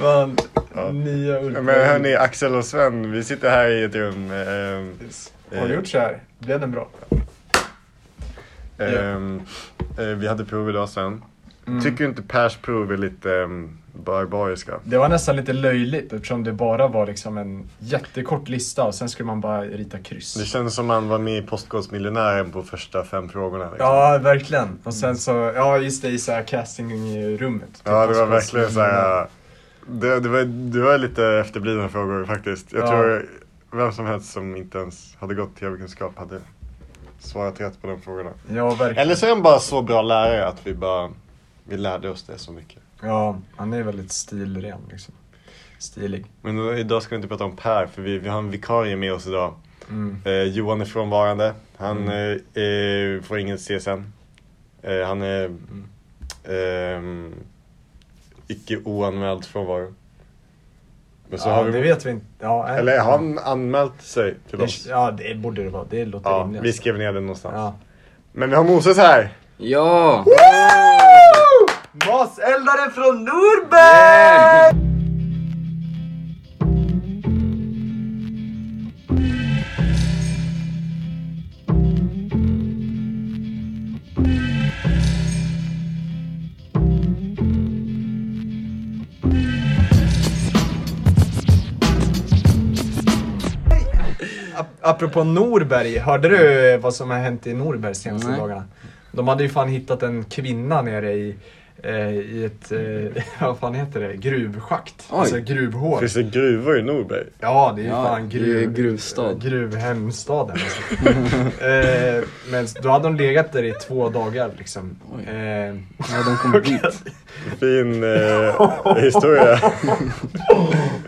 Fan, Ja. nya Ultra. Men hörni, Axel och Sven, vi sitter här i ett rum. ehm, Har du gjort så här? Blev den bra? ehm, eh, vi hade prov idag Sven. Mm. Tycker du inte Pers prov är lite ehm, barbariska? Det var nästan lite löjligt eftersom det bara var liksom en jättekort lista och sen skulle man bara rita Det kryss. känns som man var med i Postkodmiljonären på första fem frågorna. liksom. Ja, verkligen. Och sen så, ja just det, i så här castingrummet. ja det var verkligen så här. Det, det, var, det var lite efterblivna frågor faktiskt. Jag Ja. tror vem som helst som inte ens hade gått tv-kunskap hade svarat rätt på de frågorna. Ja, verkligen. Eller så är han bara så bra lärare att vi bara vi lärde oss det så mycket. Ja, han är väldigt stilren liksom. Stilig. Men då- idag ska vi inte prata om Per, för vi, vi har en vikarie med oss idag. Mm. Eh, Johan är frånvarande. Han eh, eh, får ingen CSN. Eh, han är ehm, icke oanmäld frånvaro. Men så ja, har vi, det vet vi inte. Ja, nej. Eller har han anmält sig till det, oss? ja, det borde det vara. Det låter Ja, rimligt. vi skrev ner det någonstans. Ja. Men vi har Moses här! Ja! Maseldaren från Norberg! Ap- Apropå Norberg, hörde du vad som har hänt i Norberg senaste Nej. dagarna? De hade ju fan hittat en kvinna nere i, eh, i ett, eh, vad fan heter det, gruvschakt. Oj. Alltså gruvhål. Finns det gruvor i Norberg? Ja, det är ju Ja, fan det är gruv, gruvstad. Gruvhemstaden. Alltså. eh, men då hade de legat där i två dagar liksom. Oj. Eh, Ja, de kom dit. Fin eh, historia.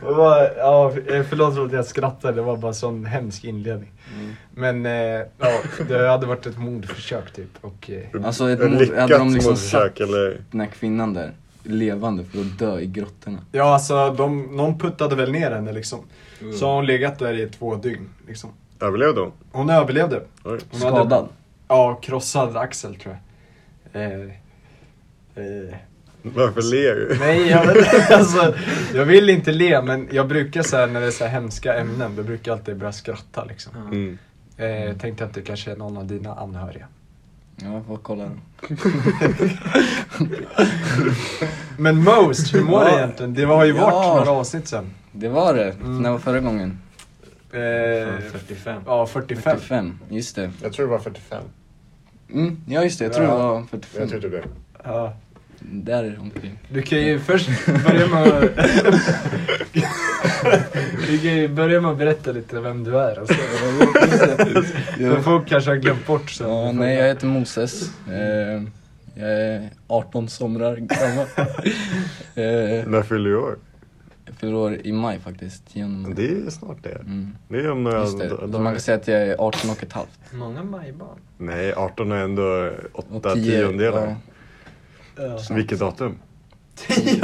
det var, ja, eh, förlåt för att jag skrattade, det var bara sån hemsk inledning. Mm. Men eh, ja, det hade varit ett mordförsök typ. Och, eh, Alltså ett Ett mord, hade de lyckat liksom mordförsök satt eller? den här kvinnan där levande för att dö i grottorna. ja, alltså de, någon puttade väl ner henne liksom. Så har hon legat där i två dygn. Liksom. Överlevde hon? Hon överlevde. Oj. Hon hade- Skadad. Ja, krossad axel tror jag. Eh, eh, Varför ler du? Nej, jag, vet- alltså, jag vill inte le men jag brukar så här, när det är så här hemska ämnen, då brukar jag alltid börja skratta liksom. Mm. Eh, jag tänkte att det kanske är någon av dina anhöriga. Ja, jag får kolla den. Men Most, hur mår Ja. du egentligen? Det har ju Ja. varit några avsnitt sen. Det var det. Mm. När var förra gången? Eh, 45. ja, 45. 45. Just det. Jag tror det var 45. Mm, ja, just det. Jag tror det var 45. typ det. Ja. Där omkring. Du kan ju först börja med att... Du kan ju börja med att berätta lite vem du är. Alltså. Men Ja. folk kanske har glömt bort sen. Ja, nej, jag heter Moses. Eh, jag är 18 somrar gammal. Eh, Mm. När fyller du år? jag fyller år i maj faktiskt. 10 maj. Det är ju snart det. Mm, Det är om några just det. da- Så man kan säga att jag är 18 och ett halvt. Många majbarn. Nej, 18 är ändå 8 Och 10 tiondelar. ja. Ja. Så Vilket datum? Tion!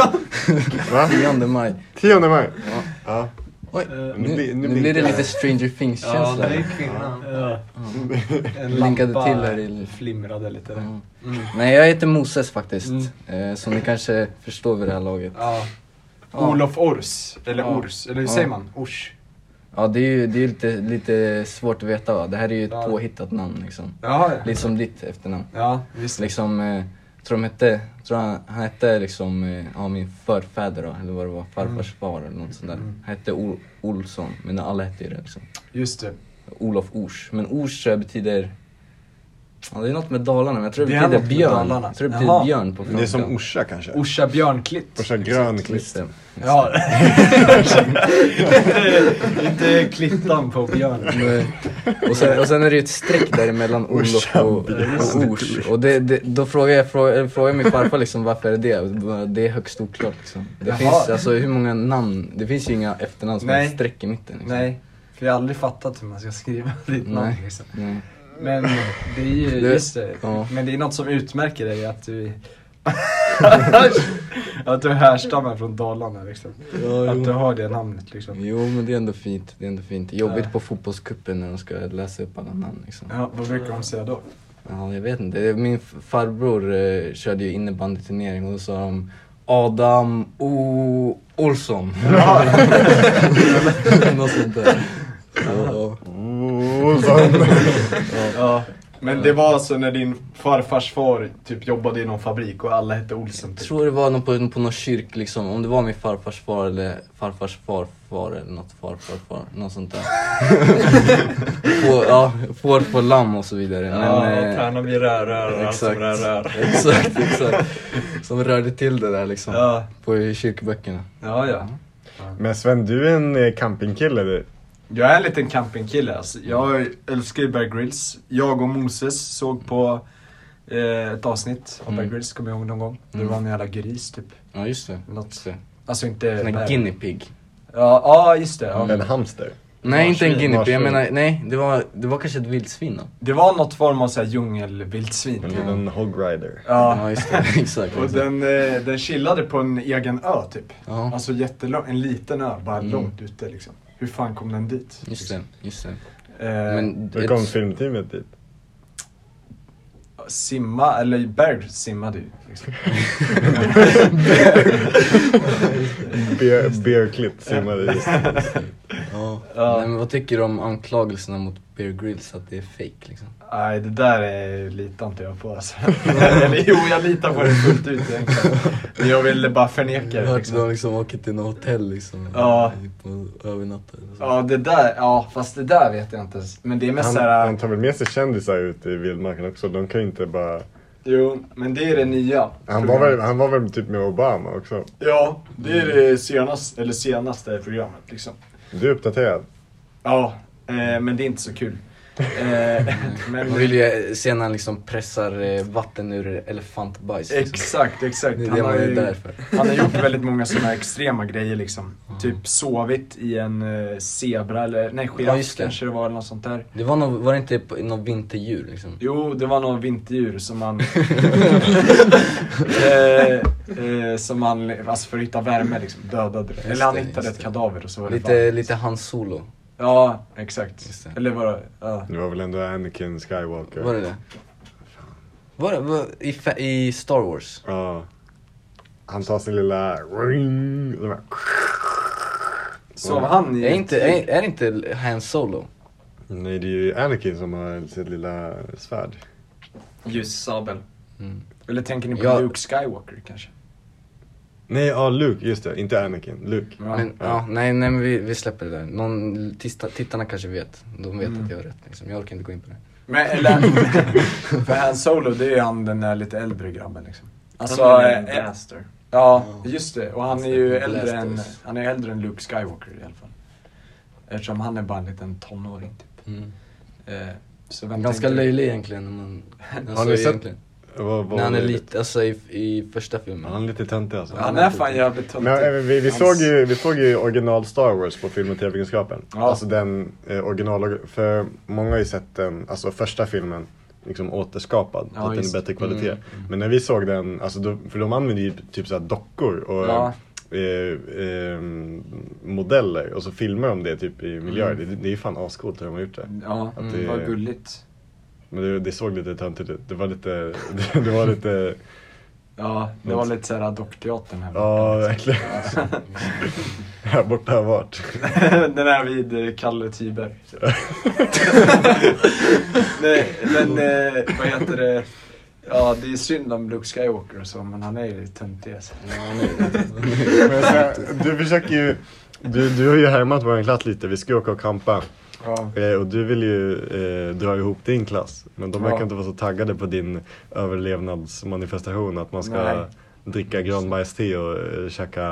Va? 10 maj. 10 maj? Ja. Ja. Oj, nu nu, blir- nu nu, blir det blinkar lite det. Stranger Things-känsla. kvinnan. Ja. En Blinkade lampa till här i- flimrade lite. Mm. där. Ja. Nej, jag heter Moses faktiskt. Mm. Eh, som ni kanske förstår vid det här laget. Ja. Ja. Olof Ors, eller Ja. Ors, eller hur Ja. säger man? Ors. Ja, det är ju det är ju lite, lite svårt att veta va. Det här är ju ett Ja. påhittat namn liksom. Jaha, ja. Lite som ditt efternamn. Ja, visst. Liksom, eh, tror de hette, tror han, han hette liksom, eh, ja min förfäder då, eller vad det var, Mm. farfars far eller något sånt där. Han hette Ol- Olsson, men alla hette ju det liksom. Just det. Olof Ors. Men Ors tror jag betyder... Ja, det är något med Dalarna, men jag tror det, Det är något betyder med björn. Dalarna. Jag tror det Jaha. betyder björn på franska. Det är som Orsa kanske? Orsa Björnklitt. Orsa Grönklitt. Just det. Ja. Inte klittan på björn. Men- Och sen, och sen är det ju ett streck däremellan Olof Orsa och, och Ors. Och det, det, då frågar jag, frågar, eller frågar min farfar liksom varför är det det? Det är högst oklart liksom. Det Jaha. finns alltså hur många namn, det finns ju inga efternamn som har Nej. ett streck i mitten. Liksom. Nej, för jag har aldrig fattat hur man ska skriva ditt namn. Nej. Liksom. Nej. Men det är ju, Det- just det. ja. Men det är något som utmärker dig att du... att du härstammar från Dalarna liksom. Att du har det namnet liksom. Jo men det är ändå fint, det är ändå fint. Jobbigt Ja. på fotbollskuppen när de ska läsa upp alla namn liksom. Ja, vad brukar de säga då? Ja, jag vet inte. Min farbror eh, körde ju innebandyturnering och då sa de Adam o Olsson. Något sånt där. Ja, Oh, Ja. Men det var alltså när din farfars far typ jobbade i någon fabrik och alla hette Olsen. Jag Typ. tror det var någon på, på någon kyrk liksom, om det var min farfars far eller farfars farfar eller något farfar far, något sånt där. Får, ja, får på lamm och så vidare. Ja, Men, eh, tärnan blir rör, rör, allt som exakt. rör, rör. Exakt, exakt. Som rörde till det där liksom. Ja, På kyrkböckerna. ja, ja. Men Sven, du är en eh, campingkille du. Jag är en liten campingkille alltså. Jag älskar ju Bear Grylls. Jag och Moses såg på eh, ett avsnitt av Bear Mm. Grylls, kommer jag ihåg någon gång. Det Mm. var en jävla gris typ. Ja just det. Just Något. det. Alltså inte... Sån här bear. guinea Mm. pig. Ja, ja, just det. Ja. En hamster. Nej inte en Marsvin. guinea pig, jag Marsvin. menar, nej det var, det var kanske ett vildsvin då. Det var något form av så här djungelvildsvin. En typ. liten hogrider. Ja. Mm. Ja just det, exakt. Och den, eh, den chillade på en egen ö typ. Ja, Alltså jättelång, en liten ö, bara Mm. långt ute liksom. Hur fan kom den dit? just det, just det. Eh, Men Då kom filmteamet dit. Simma, eller Berg simmade ju. Liksom. Bear, bear Clit simmade dit. Ja. Ja. Nej, men vad tycker du om anklagelserna mot Bear Grylls att det är fake liksom? Nej, det där är, litar inte jag på alltså. eller, jo, jag litar på det fullt ut egentligen. Men Jag ville bara förneka Jag det har hört att de liksom. liksom åker till något hotell liksom. Ja. På liksom. övernattar eller så. Ja, det där, ja fast det där vet jag inte ens. Men det är mest Han, såhär, han tar väl med sig kändisar ut i vildmarken också. De kan ju inte bara... jo, men det är det nya. Han var väl, han var väl typ med Obama också. Ja, det är det senaste, eller senaste programmet liksom. Du är uppdaterad. Ja, eh, men det är inte så kul. Eh, Man men, vill ju se när han liksom pressar eh, vatten ur elefantbajs. Liksom. exakt, exakt. Det är Han det har man är ju- där för. Han har gjort väldigt många sådana här extrema grejer liksom. Typ sovit i en eh, zebra eller, nej Ja, giraff just det. kanske det var eller något sånt där. Det var, nog, var det inte på- något vinterdjur liksom? Jo, det var någon vinterdjur som han... eh, eh, som han, alltså för att hitta värme liksom, dödade det. Eller han det, hittade ett just det. kadaver och så var det Lite, varmt. lite Han Solo. Ja, exakt. Just det. Eller var det, ja. Det var väl ändå Anakin Skywalker. Var det det? Var det, var, i, fa- I Star Wars? Ja. Han tar sin lilla ring. och så bara- Sov han i... Är, inte, är, är det inte Han Solo? Nej, det är ju Anakin som har sitt lilla svärd. ljussabel? Mm. Eller tänker ni på Ja. Luke Skywalker kanske? Nej, ja Luke, just det. Inte Anakin. Luke. Ja. Men, ja. nej, nej men vi, vi släpper det där. Någon, tista, tittarna kanske vet. De vet Mm. att jag har rätt. Liksom. Jag orkar inte gå in på det. Men eller, för Han Solo det är ju han den där lite äldre grabben liksom. Alltså, han är en eh, blaster. ja Ja. just det. Och han är Just ju det, äldre än, Blasters. han är ju äldre än Luke Skywalker i alla fall. Eftersom han är bara en liten tonåring typ. Eh, Så vem Ganska tänker- löjlig egentligen. När man, alltså, ni sett- egentligen. Vad- vad När han är var det? lite, alltså i, i första filmen. Han är lite töntig alltså. Han är fan jävligt Men, eh, töntig. vi, vi, Hans- såg ju, vi såg ju original Star Wars på film och tv-kunskapen. Ja. Alltså den eh, original, för många har ju sett den, alltså första filmen, liksom återskapad. Ja, att den är just- bättre kvalitet. Mm, Men när vi såg den, alltså då, för de använder ju typ såhär dockor och Ja. eh, eh, modeller och så filmar de det typ i miljöer. Mm. Det, det är ju fan ascoolt hur de har gjort det. Ja, Att det det- var gulligt. Men det, det såg lite töntigt ut. Det var lite, det, det var lite, Ja, det var lite såhär dockteatern här ja borta, verkligen. Här borta har varit. liksom. Den här vid eh, Kalle Tyberg. Nej, men eh, vad heter det? Ja, det är synd om Luke Skywalker och så, men han är ju töntig alltså. Men så här, du försöker ju, du, du har ju härmat vår klass lite, vi ska ju åka och campa. Ja. Eh, och du vill ju eh, dra ihop din klass. Men de Ja. verkar inte vara så taggade på din överlevnadsmanifestation att man ska Nej. dricka grönbajste och eh, käka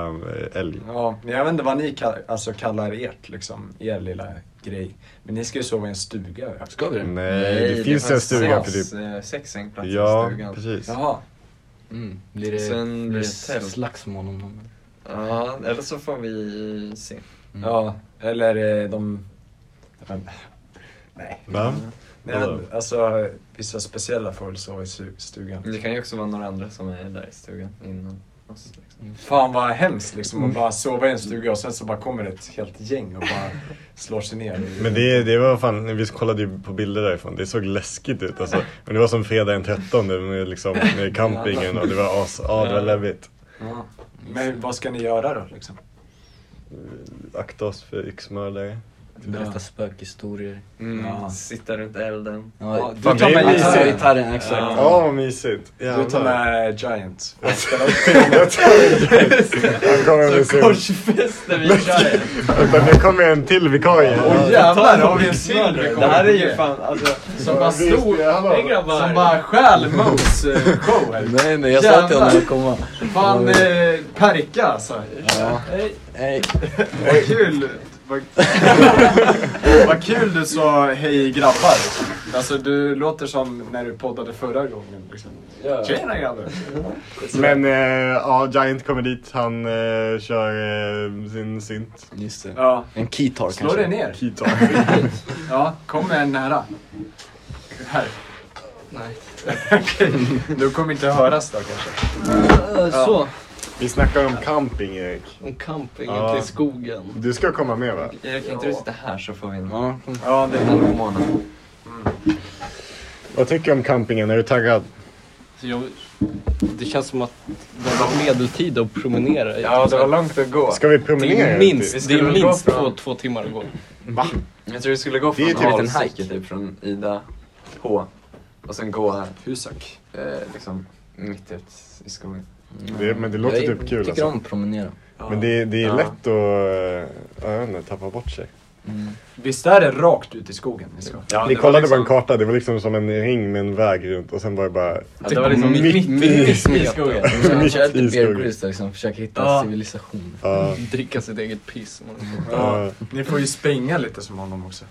eh, älg. ja, men jag vet inte vad ni kallar, alltså, kallar ert, liksom, er lilla grej. Men ni ska ju sova i en stuga. har jag hört. Ska vi det? Nej, det, finns en stuga för typ... typ... Sex sängplatser i Ja, stugan. precis. Jaha. Mm. Blir det, Sen blir blir det det tält. slagsmål om dem? Ja, eller så får vi se. Ja, eller eh, de... jag vet inte. Nej. Va? Nej men, alltså, vissa speciella får väl sova i su- stugan. Det kan ju också vara några andra som är där i stugan innan oss. Liksom. Fan vad hemskt liksom Mm. att bara sova i en stuga och sen så bara kommer ett helt gäng och bara slår sig ner. i- Men det, det var fan, vi kollade ju på bilder därifrån, det såg läskigt ut alltså. Men det var som fredag den 13 med, liksom, med campingen och det var as, ja det var läbbigt. Ja. Men vad ska ni göra då liksom? Akta oss för yxmördare. Berätta spökhistorier. Mm. Ja. Sitta runt elden. Ja, Ja, du fan, tar det är med mysigt. gitarr- gitarr. gitarren, exakt. Ja. Ja, vad mysigt. Du tar Jävlar. med Giants. Han kommer med sin... Korsfäster vi kör! Vänta, nu kommer en till vikarie. Oj, jävlar, har vi en till? Det här är ju fan alltså... Som bara Visst, stod... jävlar. Hej grabbar! Som bara stjäl Mos eh, show här. Nej nej, jag sa till honom Jävlar. att komma. Fan, eh, Perka alltså. Hej! Nej, Vad kul. Vad, vad kul du sa hej grabbar. Alltså du låter som när du poddade förra gången. Liksom. Ja. Tjena grabbar. Men eh, ja, Giant kommer dit. Han eh, kör eh, sin synt. just det. Ja, En keytar slå dig kanske. ner. Keytar. Ja, kom med en nära. Här. Nej. Okej, du kommer inte höras då kanske. Så, Vi snackar om camping, Erik. En camping Ja. ute i skogen. Du ska komma med va? Erik kan inte du sitta här så får vi en Ja, kom. Ja, det en roman. Vad tycker du om campingen? Är du taggad? Så jag, det känns som att det var medeltid att promenera. i. Ja, det var långt att gå. Ska vi det promenera? är Vi minst, det skulle är väl gå minst fram. två, två timmar att gå. Jag tror det skulle gå Det är ju från typ en Alsike typ från Ida H och sen gå Husak eh, liksom mitt ut i skogen. Det, men det låter jag typ kul tycker alltså. om att promenera. Men det, det är Ja. lätt att, eh, jag vet inte, tappa bort sig. Visst är det rakt ut i skogen ni ska? Ja, Vi kollade på en karta, det var liksom som en ring med en väg runt och sen var det bara... Ja, det var liksom Mitt- mitt, mitt, mitt, i skogen. Jag Mitt kör lite i Bear skogen. Grylls där liksom, försöker hitta Ja. civilisation. Ja, Dricka sitt eget piss. ja. Ni får ju springa lite som honom också.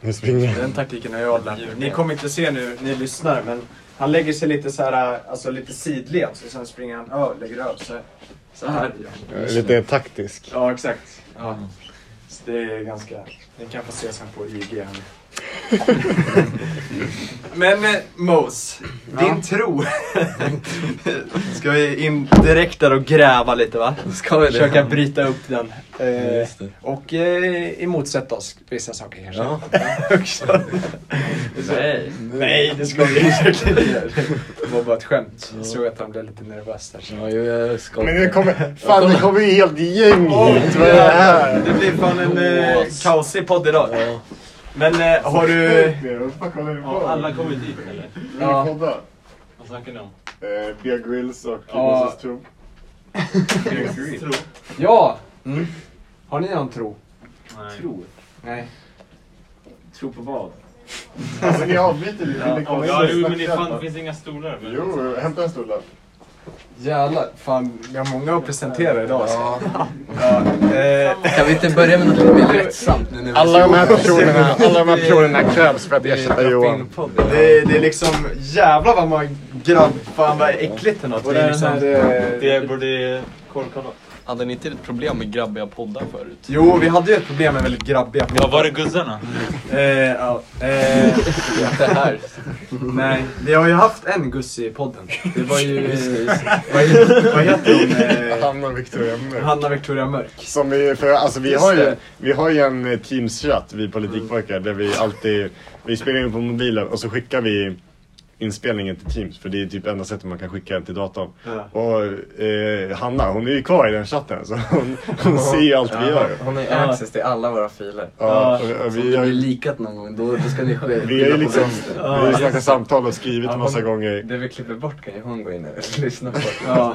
Nu springer jag. Den taktiken har jag lärt mig. Ni kommer inte se nu, ni lyssnar, men han lägger sig lite så här, alltså lite sidled, så sen springer han över, lägger över så här. Så här. Jag är Lite taktisk. Ja, exakt. Ja. Så det är ganska... Ni kan få se sen på IG. här. men eh, Mos, din tro. Ska vi in direkt där och gräva lite va? Ska vi det? Försöka bryta upp den. Ja, Eh, just det. och eh, emotsätta oss vissa saker kanske. Ja. Också. Nej. Nej, det ska vi verkligen inte göra. Det var bara ett skämt. Jag såg att han blev lite nervös där. Ja, jo, jag ska. Men det kommer, fan det kommer ju helt gäng hit. Vad är det här? Det blir fan en eh, kaosig podd idag. Men eh, har du... Vad fan kollar ni på? Alla kommer dit eller? Vill ni podda? Vad snackar ni om? Eh, Bear Grylls och Ja. Moses Tro. Ja! Mm. Har ni någon tro? Tro? Nej. Tro på vad? Alltså ni avbryter lite. ni kommer Ja, inte jo, men det snacka. fan, finns inga stolar. Men... Jo, hämta en stol då. Jävlar, fan vi har många att presentera idag alltså. Ja, eh, Kan vi inte börja med något lite mer lättsamt nu när vi Alla de här personerna, alla de här personerna krävs för att ersätta Johan. det, är- det är liksom, jävlar vad man grabb, fan vad äckligt det låter. Och Det är den liksom, här, det Det borde korvkana. Hade ni inte ett problem med grabbiga poddar förut? Jo, vi hade ju ett problem med väldigt grabbiga Ja, var är guzzarna? Eh, ja, eh, Det här. nej, vi har ju haft en Gussi i podden. Det var ju... vad, heter, vad heter hon? Eh, Hanna och Victoria Mörk. Hanna Victoria Mörk. Som vi, för, alltså, vi, Just har ju, det. vi har ju en eh, Teams-chatt, vi politikpojkar, där vi alltid vi spelar in på mobilen och så skickar vi inspelningen till Teams för det är typ enda sättet man kan skicka den till datorn. Ja. Och eh, Hanna, hon är ju kvar i den chatten så hon, hon ser ju allt vi gör. Hon har ju access till alla våra filer. Ja, och, och Om vi det har blir ju likat någon gång, då, då ska ni skylla vi har ju på liksom, vänster. vi har ju snackat samtal och skrivit massa gånger. Det vi klipper bort kan ju hon gå in och lyssna på. Ja,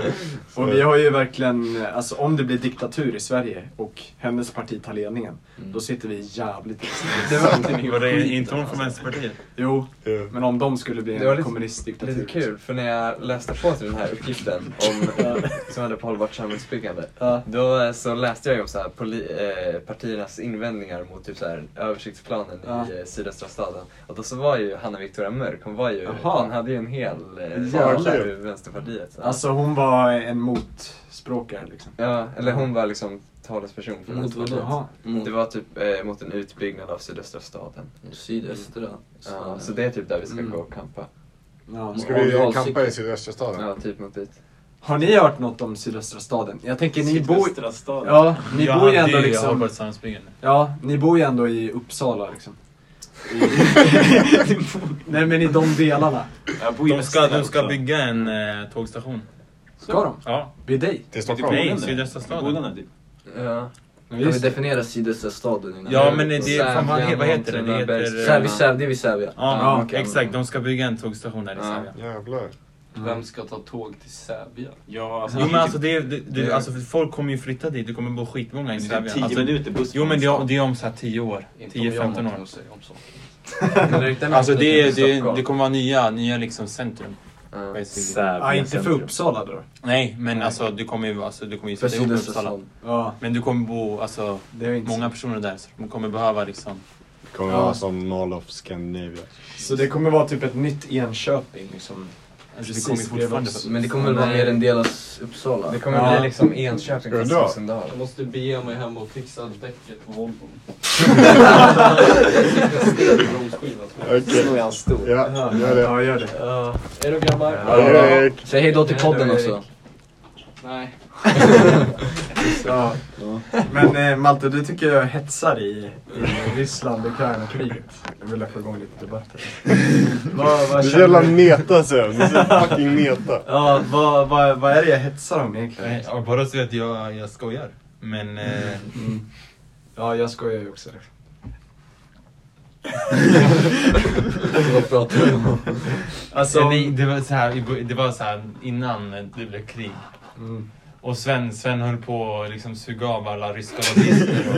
och vi har ju verkligen, alltså om det blir diktatur i Sverige och hennes parti tar ledningen, då sitter vi jävligt extremt. Var det inte hon från Vänsterpartiet? Jo, Ja. men om de skulle bli Det var en lite- kommunistdiktatur. Lite kul, för när jag läste på till den här uppgiften om, som hade på hållbart samhällsbyggande, Ja. då eh, så läste jag ju om så här, poli, eh, partiernas invändningar mot typ så här, översiktsplanen Ja. i eh, sydöstra staden. Och då så var ju Hanna Victoria Mörk, hon, var ju, Jaha. hon hade ju en hel eh, Jävlar. sida ur Vänsterpartiet. Så. Alltså hon var en motspråkare liksom. Ja, eller hon var liksom talesperson för Mot vad Vänsterpartiet. då? Jaha. Det var typ eh, mot en utbyggnad av sydöstra staden. Sydöstra. Ja, så det är typ där vi ska gå och kampa. Ja. Ska Om vi vi har campa i cykel. sydöstra staden? Ja, typ mot dit. Har ni hört något om sydöstra staden? Jag tänker ni bor... Sydvästra staden. Ja, ni Ja, bor ju det ändå är liksom... hållbart samhällsbyggande. Ja, ni bor ju ändå i Uppsala liksom. Nej men i de delarna. De ska, de ska bygga en eh, tågstation. Ska de? Ja. Vid dig? Till Stockholm? Nej, sydöstra staden. typ. Ja. Kan vi definiera sydöstra staden innan? Ja, men det, Sävja, fan, vad heter- vad heter det? Det Norrtull, heter... Sävja, Sävja, det är vid Sävja. Ja, Ja, okej. exakt. De ska bygga en tågstation där i Ja. Sävja. Jävlar. Vem ska ta tåg till Sävja? Ja, alltså, jo, men alltså, det, är- det, det, alltså folk kommer ju flytta dit, det kommer bo skitmånga i Det är Sävja. tio Alltså, minuter buss. jo men det är, det är om så här 10 år, Inte om jag har 10-15 någonting år. att säga om saken. Alltså det, är- det, är- det kommer vara nya, nya liksom centrum. Ja. Ja, inte för Uppsala då. Nej men alltså du kommer ju, alltså, du kommer ju För sätta ihop sydöstra Uppsala. staden. Ja, Men du kommer bo, alltså det är inte många personer där så de kommer behöva liksom. Kommer Ja. vara som Mall of Scandinavia. Så det kommer vara typ ett nytt Enköping liksom. Alltså, det Precis, kommer ju det är fortfarande... de som- Men det kommer väl vara Nej. mer än delas Uppsala? Det kommer Ja. bli liksom Enköping Ska fast du dra? Rosendal. Jag måste bege mig hem och fixa däcket på Volvon. Okej. han stor. Ja, gör det. Ja, gör det. Är du grabbar? Hej, Erik. Säg hejdå till podden också. Nej. Ja. Men eh, Malte, du tycker jag hetsar i, i Ryssland, Ukraina-kriget. Jag vill få igång lite debatter. vad, Du är vad, så känner jävla du? meta sen. Du är så fucking meta. ja, vad, vad, vad är det jag hetsar om egentligen? Ja, bara så att jag, jag skojar. Men... Eh, Mm. Ja, jag skojar ju också. Vad pratar du om? Alltså, nej, Eh, det var så här, i bo- det var så här innan det blev krig. mm. Och Sven, Sven höll på att liksom suga av alla ryska lobbyister och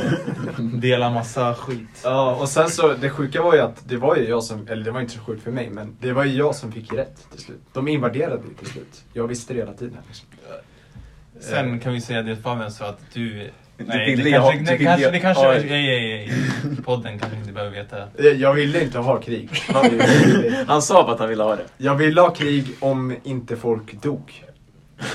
dela massa skit. Ja, och sen så det sjuka var ju att det var ju jag som, eller det var inte så sjukt för mig, men det var ju jag som fick rätt till slut. De invaderade ju till slut. Jag visste det hela tiden. Liksom. Sen kan vi säga det Fabian sa att du... Nej, ville det jag- du kanske... Det ville kanske... jag- Det kanske ja. ej, ej, ej. Podden kanske inte behöver veta. Jag, Eh, jag ville inte ha krig. Det var ju- Han sa bara att han ville ha det. Jag ville ha krig om inte folk dog.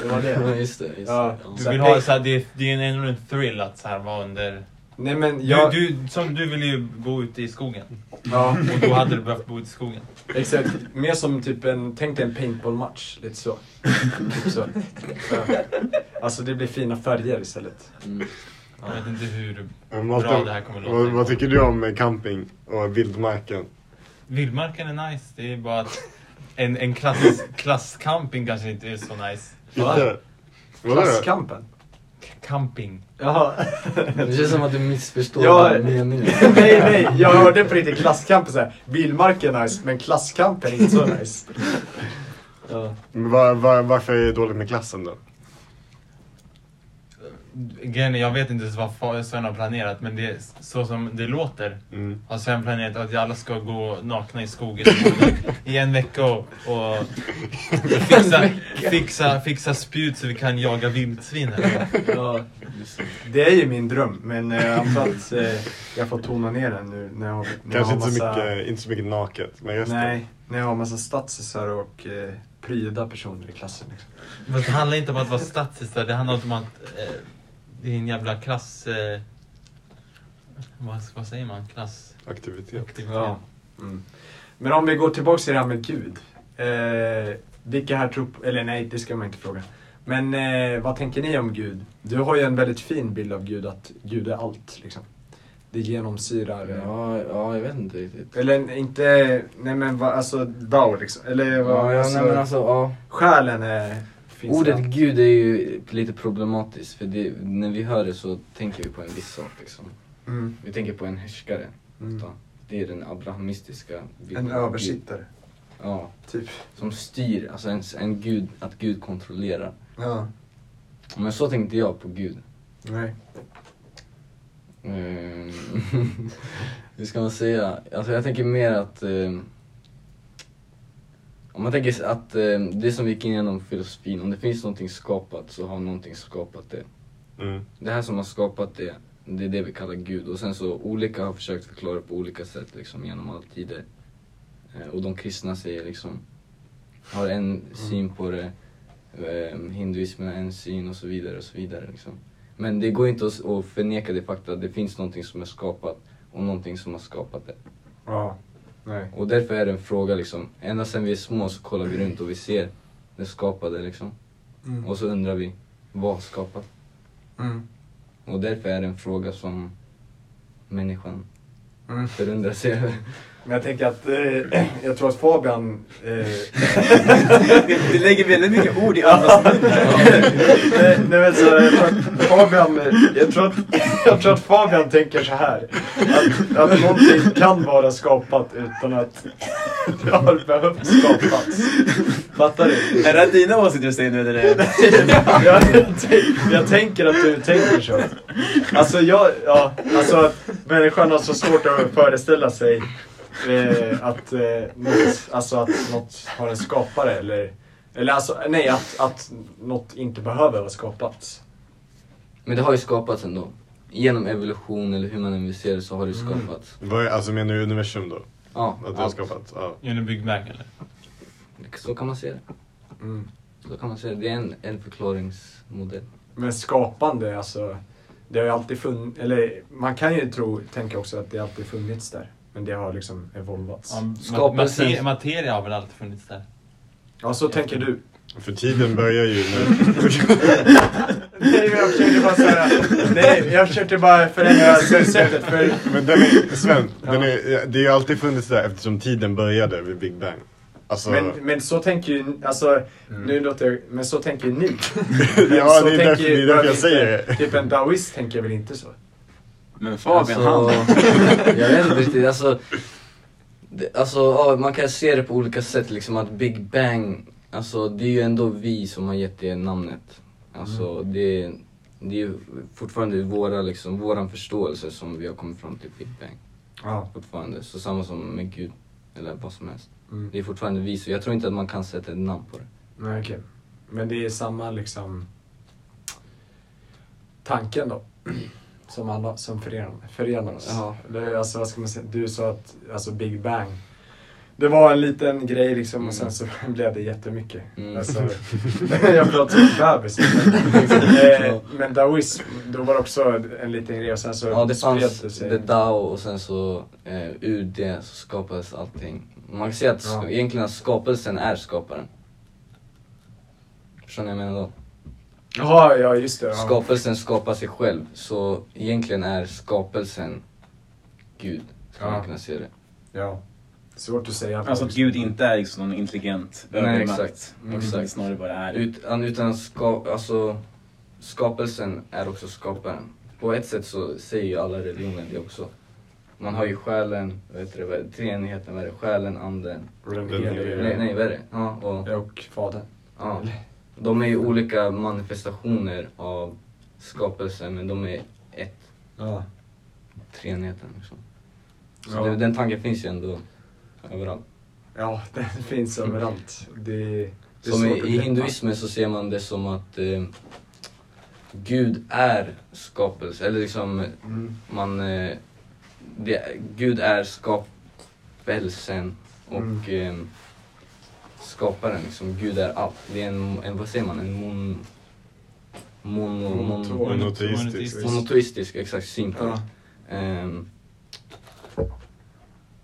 Det var Ja, det. just det. Just Ja. det. Du vill ha så här, det, det är ändå en thrill att så här vara under... Nej men Du, jag... du, som, du ville ju bo ute i skogen. Ja, Och då hade du behövt bo ute i skogen. exakt. Mer som typ en, tänk dig en paintballmatch. Lite så. Typ så. Ja. Alltså det blir fina färger istället. Jag vet inte hur Men bra Malte, det här kommer vad, vad låta. tycker du om eh, camping och vildmarken? Vildmarken är nice, det är bara att en, en klass, klasscamping kanske inte är så nice. Inte? Vadå? Klasskampen. Camping. Jaha. Det känns som att du missförstår Ja. ja. meningen. nej nej, jag hörde på riktigt klasskampen såhär. Bilmarken är nice, men klasskampen är inte så nice. Ja. Men Var, var, varför är det dåligt med klassen då? Mm. Grejen är, jag vet inte ens vad fa- Sven har planerat men det är så som det låter. Mm. Har Sven planerat att alla ska gå nakna i skogen i en vecka och, och fixa, fixa, fixa spjut så vi kan jaga vildsvin här. Ja. Det är ju min dröm, men eh, jag antar att eh, jag får tona ner den nu när jag, när jag har Kanske inte så, massa... mycket, inte så mycket naket, men resten. Nej, när jag har massa statsisar och eh, pryda personer i klassen. Liksom. Men det handlar inte om att vara statsista, det handlar om att eh, det är en jävla klass... Eh, vad, vad säger man? Klass... Aktivitet. Ja. Mm. Men om vi går tillbaka till det här med Gud. Eh, vilka här tror på, Eller nej, det ska man inte fråga. Men eh, vad tänker ni om Gud? Du har ju en väldigt fin bild av Gud, att Gud är allt. Liksom. Det genomsyrar... eh, Ja, ja, jag vet inte riktigt. Eller inte... Nej men vad, alltså Dao liksom. Eller vad... Ja, ja, alltså, nej, men alltså, ja. Själen är... Finns Ordet där. gud är ju lite problematiskt för det, när vi hör det så tänker vi på en viss sak liksom. Mm. Vi tänker på en härskare. Mm. ofta. Det är den abrahamistiska bilden. En av Gud. översittare, Ja, typ. som styr, alltså en, en gud, att gud kontrollerar. Ja. Men så tänkte jag på gud. Nej. Ehm, hur ska man säga? Alltså jag tänker mer att... ehm, om man tänker sig att ehm, det som vi gick igenom filosofin, om det finns någonting skapat så har någonting skapat det. Mm. Det här som har skapat det, det är det vi kallar Gud. Och sen så olika har försökt förklara på olika sätt liksom genom alla tider. Eh, Och de kristna säger liksom, har en syn på det, eh, hinduismen har en syn och så vidare och så vidare liksom. Men det går inte att s- att förneka det faktum att det finns någonting som är skapat och någonting som har skapat det. Ja. Nej. Och därför är det en fråga liksom, ända sedan vi är små så kollar vi runt och vi ser det skapade liksom. Mm. Och så undrar vi, vad skapat? Mm. Och därför är det en fråga som människan Mm. förundras över. Men jag tänker att, eh, jag tror att Fabian... Eh, Du lägger väldigt mycket ord i andras mun. nej, nej men så, jag tror att Fabian, jag tror att, jag tror att Fabian tänker så här. Att, att någonting kan vara skapat utan att det har behövt skapas. Fattar du? Är det dina åsikter du säger nu eller? är det- Jag, jag, tänk- jag tänker att du tänker så. Alltså jag, ja, alltså att människan har så svårt att föreställa sig eh, att, eh, något, alltså att något har en skapare eller, eller alltså, nej, att, att något inte behöver vara skapat. Men det har ju skapats ändå. Genom evolution eller hur man än vill se det så har det ju Mm. skapats. Vad är- Alltså menar du universum då? Ja, Att det har allt. skapats? Ja. Gör ni byggverk eller? Så kan man se det. Mm. Så kan man se det. Det är en, en förklaringsmodell. Men skapande, alltså, det har ju alltid funnits, eller man kan ju tro, tänka också att det alltid funnits där. Men det har liksom evolvats. Ja, ma- Skapelsen. mate- Materia har väl alltid funnits där? Ja, så tänker du. För tiden börjar ju när... Nej, men jag försökte bara säga, nej, jag försökte bara förändra synsättet. För Men den är, Sven, den är, det har ju alltid funnits där eftersom tiden började vid Big Bang. Alltså, Men, men så tänker ju, alltså, nu låter jag, men så tänker ju ni. Mm. ja, så det är tänker därför, det är därför väl jag säger inte- det. Typ en daoist tänker väl inte så? Men Fabian Alltså- han. jag vet inte riktigt. Alltså, det, alltså ja, man kan se det på olika sätt. Liksom att Big Bang, alltså det är ju ändå vi som har gett det namnet. Alltså Mm. det, är- det är ju fortfarande våra, liksom, våran förståelse som vi har kommit fram till Big Bang. Ja. Fortfarande. Så samma som med Gud, eller vad som helst. Mm. Det är fortfarande vi, så jag tror inte att man kan sätta ett namn på det. Nej, okej. Men det är samma liksom tanken då? Som, alla, som förenar, förenar oss. Ja. Det, alltså, vad ska man säga? Du sa att alltså, Big Bang, det var en liten grej liksom Mm. och sen så blev det jättemycket. Mm. Alltså, jag pratar som en bebis. eh, men daoism, då var det också en liten grej och sen så Ja, det spred det fanns sig. det Dao och sen så eh, ur det så skapades allting. Man kan säga att sk- Ja. egentligen att skapelsen är skaparen. Förstår ni vad jag menar då? Jaha, ja just det. Ja. Skapelsen skapar sig själv, så egentligen är skapelsen Gud. Ska Ja. man kunna se det. ja. Svårt att säga. Alltså att Gud inte är liksom någon intelligent Nej, övermakt. exakt. Mm. Utan Mm, Exakt. Snarare bara är. Ut, utan ska, alltså, skapelsen är också skaparen. På ett sätt så säger ju alla religioner det också. Man har ju själen, vad heter det, vad är det, treenigheten, vad är det? Själen, anden. Den Den helige- Nej, nej, vad är det? Ja, och, Och fadern. ja. De är ju olika manifestationer av skapelsen men de är ett, Ja. treenigheten liksom. Så Ja. det, den tanken finns ju ändå överallt. Ja, den finns överallt. Det, det är Som i, svårt att i greppa. hinduismen så ser man det som att eh, Gud är skapelse, eller liksom Mm. man... Eh, det, Gud är skapelsen och Mm. eh, skaparen liksom. Gud är allt. Det är en, en vad säger man, en mon... Mono, Monoton. mon, Monoteistiskt. monotoistisk, exakt, syn på Ja. Ehm,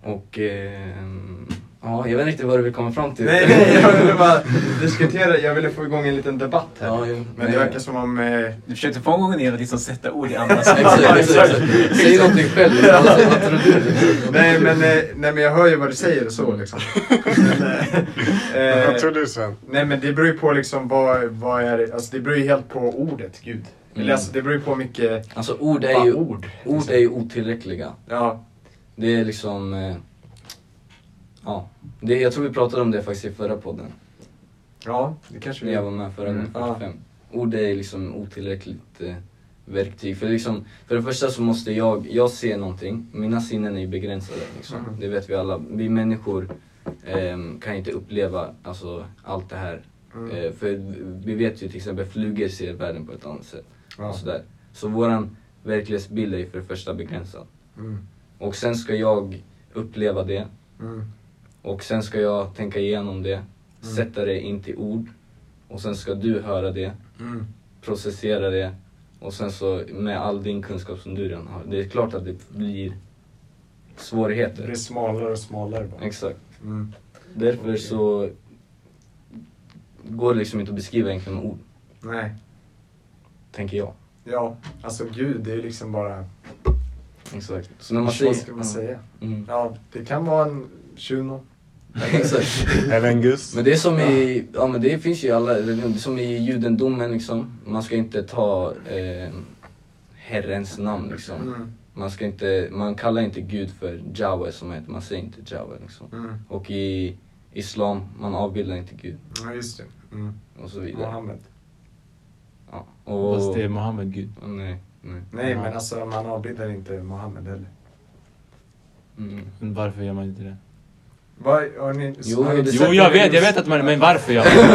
Och... ehm, ja, jag vet inte riktigt vad du vill komma fram till. Nej, nej, jag ville bara diskutera. Jag ville få igång en liten debatt här. Ja, jo, Men nej. det verkar som om... Eh, Du försökte få igång ner och liksom sätta ord i andras mun. Exakt, exakt. Säg någonting själv. Vad tror du? nej, men, eh, nej, men jag hör ju vad du säger och så liksom. Men, eh, eh, Vad tror du Sven? Nej men det beror ju på liksom vad, vad är det, alltså det beror ju helt på ordet gud. Eller Mm. alltså det beror ju på mycket, Alltså ord är bara ju, ord. ord är ju otillräckliga. Ja, Det är liksom... eh, Ja, det, jag tror vi pratade om det faktiskt i förra podden. ja det kanske När vi jag gör. var med förra Mm, gången, ja. 45. Ord är liksom otillräckligt eh, verktyg. För, liksom, för det första så måste jag, jag ser någonting, mina sinnen är ju begränsade. Liksom. Mm. Det vet vi alla. Vi människor ehm, kan inte uppleva alltså, allt det här. Mm. Eh, för vi vet ju till exempel flugor ser världen på ett annat sätt. Ja. Och sådär. Så våran verklighetsbild är ju för det första begränsad. Mm. Och sen ska jag uppleva det Mm. och sen ska jag tänka igenom det, sätta det in till ord och sen ska du höra det, Mm. processera det och sen så med all din kunskap som du redan har. Det är klart att det blir Det svårigheter. blir smalare och smalare bara. Exakt. Mm. Därför Okej. så går det liksom inte att beskriva egentligen med ord, Nej, tänker jag. ja, alltså gud det är ju liksom bara Exakt. Så när man Vad säger... ska man säga? Mm. Ja, det kan vara en shuno. Exakt. Eller en gust. Men det är som i, ja men det finns ju i alla, det är som i judendomen liksom. Man ska inte ta eh, Herrens namn liksom. Mm, Man ska inte, man kallar inte Gud för Jahwe som heter, man säger inte Jahwe liksom. mm. Och i Islam, man avbildar inte Gud Ja, just det. Mm. och så vidare. Mohammed. Ja. Fast Och, det är Mohammed gud. nej, nej. Nej, Ja. men alltså man avbildar inte Mohammed heller. Mm. Men varför gör man inte det? Vad, har ni, Jo, har ni det- Jo, sett jag det? vet, jag vet att man... Men varför gör man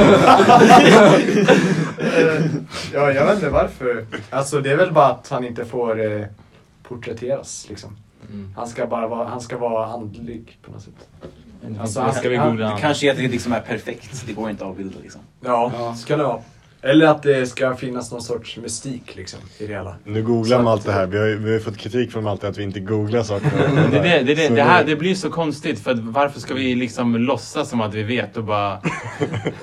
det? Eh, ja, jag vet inte varför. Alltså det är väl bara att han inte får eh, porträtteras liksom. Mm. Han ska bara vara, han ska vara andlig på något sätt. Alltså, Det ska vi googla. Det kanske är att det liksom är perfekt. Det går inte att avbilda liksom. Ja, Ja. ska det vara. Eller att det ska finnas någon sorts mystik liksom i det hela. Nu googlar Så man att- allt det här. Vi har, ju- vi har ju fått kritik från Malte att vi inte googlar saker. Men Mm, Det, är det, det, är Så det, det, här, det blir så konstigt för att varför ska vi liksom låtsas som att vi vet och bara...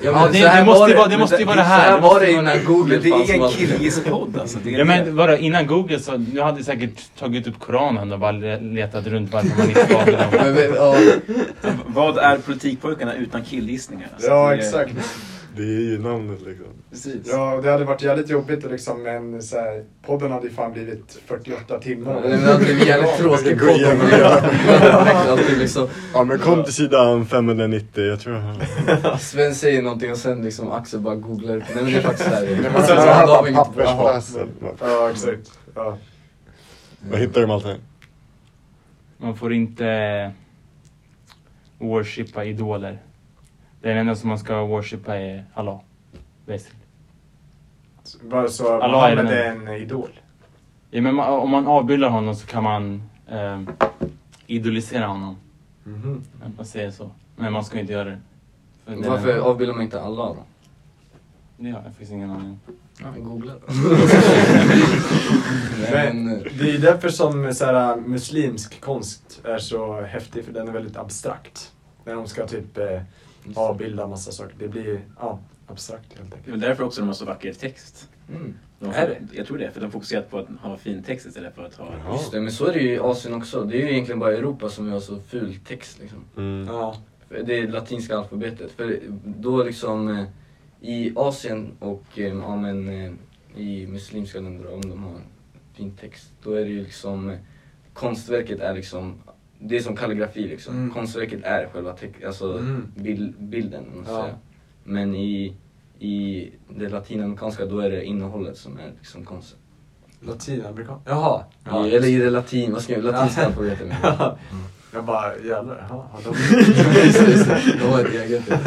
Ja, men det- det måste ju vara- det måste ju vara det här. Så här Det var måste det ju ju vara när Google Men det fanns är som en allt. killgisspodd alltså. Det är Ja men bara innan Google så, nu hade jag säkert tagit upp Koranen och bara le- letat runt varför man inte valde dem. Men vi- ja. Vad är politikpojkarna utan killgissningar? Alltså, Ja, det är- exakt. Det är ju namnet liksom. Precis. Ja, det hade varit jävligt jobbigt att liksom, men så här, podden hade ju fan blivit 48 timmar. Det är alltid jävligt tråkig Gå podd. igenom. Alltid liksom, Ja men kom till sidan 590. Jag tror jag... Sven säger någonting och sen liksom Axel bara googlar upp. Nej men det är faktiskt så här. det men är. sen Sen så så här han bara gav inget bra. Pappersplatsen. Ja, exakt. Ja. Vad hittar du Malte? Man får inte worshipa idoler. Den enda som man ska worshipa är Allah. Basically. Så- Bara så Alla Mohammed är är en idol. Ja, men ma- om man avbildar honom så kan man ehm, idolisera honom. Mhm. Man säger så. Men man ska inte göra det. För det- Varför avbildar man inte alla då? Det har jag faktiskt ingen aning Googla Nej, Men, eh, Det är därför som så här, äh, muslimsk konst är så häftig, för den är väldigt abstrakt. När de ska typ eh, avbilda massa saker. Det blir ja, abstrakt helt Det är enkelt. väl därför också de har så Alltså, vacker text. mm. De har, Är det? Jag tror det, för de fokuserar på att ha fin text istället för att ha... Jaha. Just det, men så är det ju i Asien också. Det är ju egentligen bara Europa som har så ful text liksom. Mm. Ja. För Det är latinska alfabetet. För då liksom eh, i Asien och eh, ja, men, eh, i muslimska länder om de har fin text. Då är det ju liksom eh, konstverket är liksom det är som kalligrafi liksom. Mm. Konstverket är själva text, alltså Mm. bil, bilden. om Man Ja. ja. säga. Men i, i det latinamerikanska då är det innehållet som är liksom konsten. Latinamerikan? Jaha. Ja, I, eller i det latin, vad ska jag, latinska Ja. alfabetet menar jag. Ja. Jag bara, jävlar. Ja, har de... Just det, just det. De har ett eget.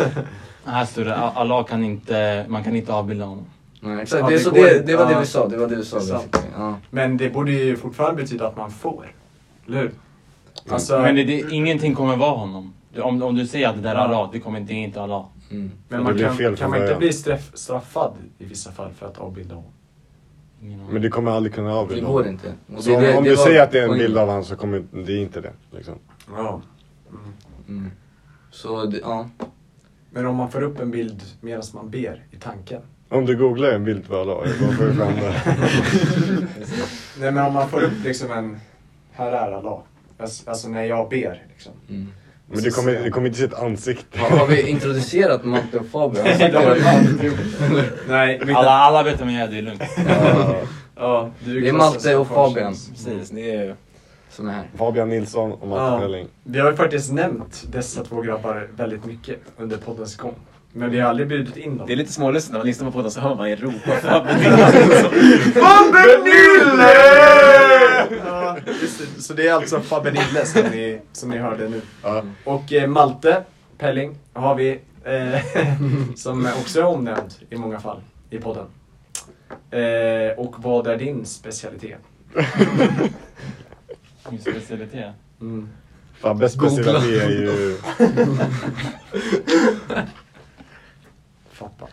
Här står det, "A- Allah kan inte, man kan inte avbilda honom. Nej, Ja, exakt. Det, det är så går det, inte. det var Ja. det vi sa, det var det vi sa. Det är sant. basically. Ja. Men det borde ju fortfarande betyda att man får. Eller hur? Alltså, Men men, det, det, ingenting kommer vara honom. Om, om du säger att det där är Allah, det kommer inte, det är inte Allah. Mm. det man blir fel kan, från kan man inte början. bli straff, straffad i vissa fall för att avbilda honom? Ingen aning. Men du kommer aldrig kunna Det avbilda går honom. inte. Och Så om, det- om det du var säger att det är en poängen. bild av han så kommer det är inte det. Liksom. Ja. Mm. Så det, ja. Men om man får upp en bild medan man ber i tanken? Om du googlar en bild på Allah, vad får du fram det? Nej men om man får upp liksom en, här är Allah. Alltså, alltså när jag ber liksom. Mm. Men du kommer, du kommer inte se ett ansikte. Har, har vi introducerat Malte och Fabian? Han Det har sitter vi här. aldrig gjort. Nej, Alla, alla vet vem jag är, det är lugnt. Ja. Ja, du Det är klassas Malte som och Fabian farsan. Precis, det är... som är här. Fabian Nilsson och Ja. Matte Pelling. Vi har ju faktiskt nämnt dessa två grabbar väldigt mycket under poddens gång. Men vi har aldrig bjudit in dem. Det är lite smålustigt när man lyssnar på podden så hör man ju ropa Fabbe Fabbe Nille! Ja, just det. Så det är alltså Fabbe Nille som ni, som ni hörde nu. Ja. Och eh, Malte Pelling har vi, eh, som också är omnämnd i många fall i podden. Eh, och vad är din specialitet? Min specialitet. Mm. Fabbes specialitet är ju... Fappa,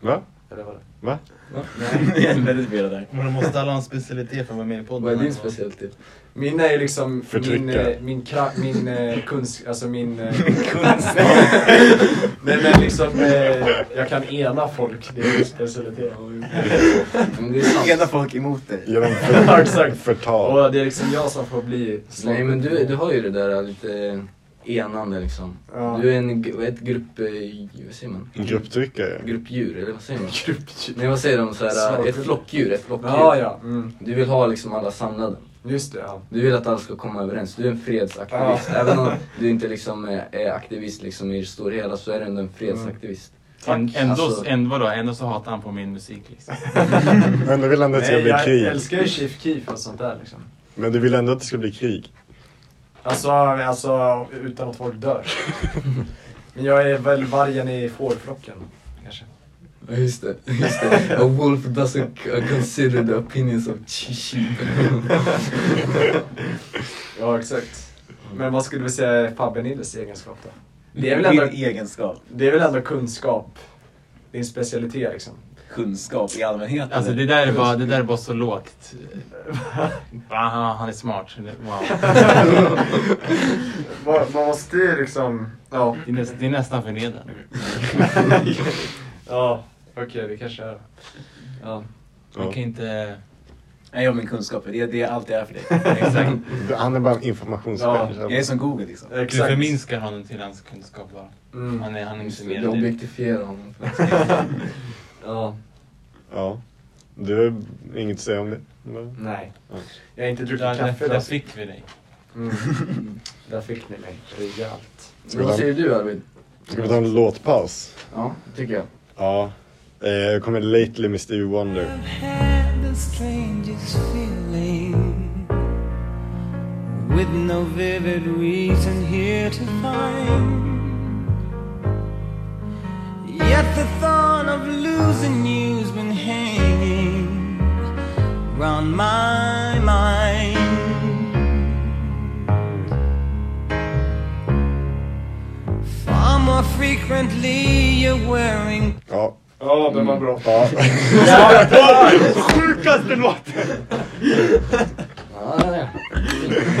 Va? eller vad det Va? Jag är väldigt förvirrad där. Men de måste alla ha en specialitet för att vara med i podden. Vad är din typ? specialitet? Min är ju liksom min, Förtrycka. eh, min, kra- min eh, kunsk... Alltså min... Eh, Kunskap. nej men liksom, eh, jag kan ena folk. Det är min specialitet. Men det är sant. Ena folk emot dig. Genom Ja, exakt. förtal. Och det är liksom jag som får bli... Nej men du, du har ju det där lite enande liksom. Ja. Du är en, gr- vad heter- grupp... eh, Vad säger man? Grupptryckare. Gruppdjur, eller vad säger man? Nej vad Typ säger de? Så här, ett Snorkel. flockdjur, ett flockdjur. Ja, ja. Mm. Du vill ha liksom alla samlade. Just det, ja. Du vill att alla ska komma överens. Du är en fredsaktivist. Även om du inte liksom är, är aktivist liksom i det stora hela så är du ändå en fredsaktivist. Änd- Ändå, Alltså- ändå, vadå? ändå så hatar han på min musik liksom. Men du vill ändå att det ska Nej, bli jag krig. älskar ju Chief Keef och sånt där liksom. Men du vill ändå att det ska bli krig. Alltså, alltså utan att folk dör. Men jag är väl vargen i fårflocken. Kanske. Ja, Just det, just det. A wolf doesn't c- uh, consider the opinions of sheep. Ja, exakt. Men vad skulle vi säga är Fabbe Nilles egenskap då? Det är väl ändå, Din egenskap. det är väl ändå kunskap. Din specialitet liksom. Kunskap i allmänhet. Alltså det där är bara, det där är bara så lågt. Aha, han är smart. Wow. Man, man måste ju liksom... Ja. Det är, näst, det är nästan förnedrande. ja, okej det kanske är ja. Man Ja. kan inte... Nej, jag har min kunskap. Det är, det är allt jag är för dig. Exakt. Han är bara en informationsmänniska. Jag är som Google liksom. Du förminskar honom till hans kunskap bara. Mm. Han är, han är typ- inte mer Du än det. objektifierar honom. ja. Ja. Du har inget att säga om det? Nej. Nej. Ja. Jag har inte druckit Där, kaffe där, där idag. fick vi dig. Mm. Där fick ni mig. Rejält. Men vad säger du Arvid? Ska vi ta en låtpaus? Ja, tycker jag. Ja. Eh, Jag kommer Lately med Stevie Wonder. had the strangest feeling with no vivid reason here to find. Yet the thought of losing you's been Mm. hanging round my mind. Far more frequently, you're wearing Ja. Ja, den var bra. ja. Sjukaste låten! Ja, ja, ja.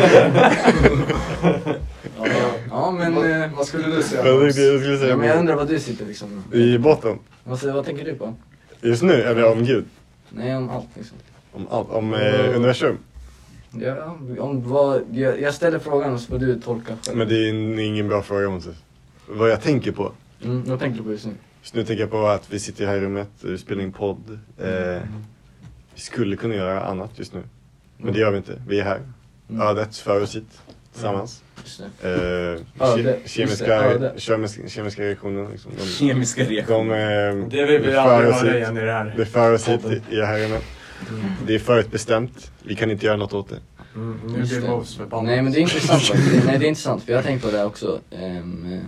ja, ja men... eh, Vad skulle du säga? Jag tänkte jag skulle Ja, men jag säga undrar vad du sitter liksom. i botten. Vad, säger- vad tänker du på? Just nu, eller om Gud. Nej, om allt liksom. Om, allt, om eh, universum. Ja, om vad, jag, jag ställer frågan och så får du tolka själv. Men det är en- ingen bra fråga Moses. Vad jag tänker på. Mm, jag tänker på just nu. Så nu tänker jag på att vi sitter här i rummet, vi spelar in podd. Eh, vi skulle kunna göra annat just nu. Men det gör vi inte. Vi är här. Mm. Ödet för oss hit. Tillsammans. Just nu. Eh, Öde. ke- kemiska, Just det, öde. kemiska, kemiska reaktioner liksom. De, Kemiska de, reaktioner. eh, Det vill vi för aldrig oss höra hit. igen Mm. i det här. Det för oss hit i- i det här rummet. Det är förutbestämt. Vi kan inte göra något åt det. Mm, nu Just blir det. Mose förbannad. Nej men det är intressant faktiskt. Nej det är intressant för jag har tänkt på det här också. Ehm, eh,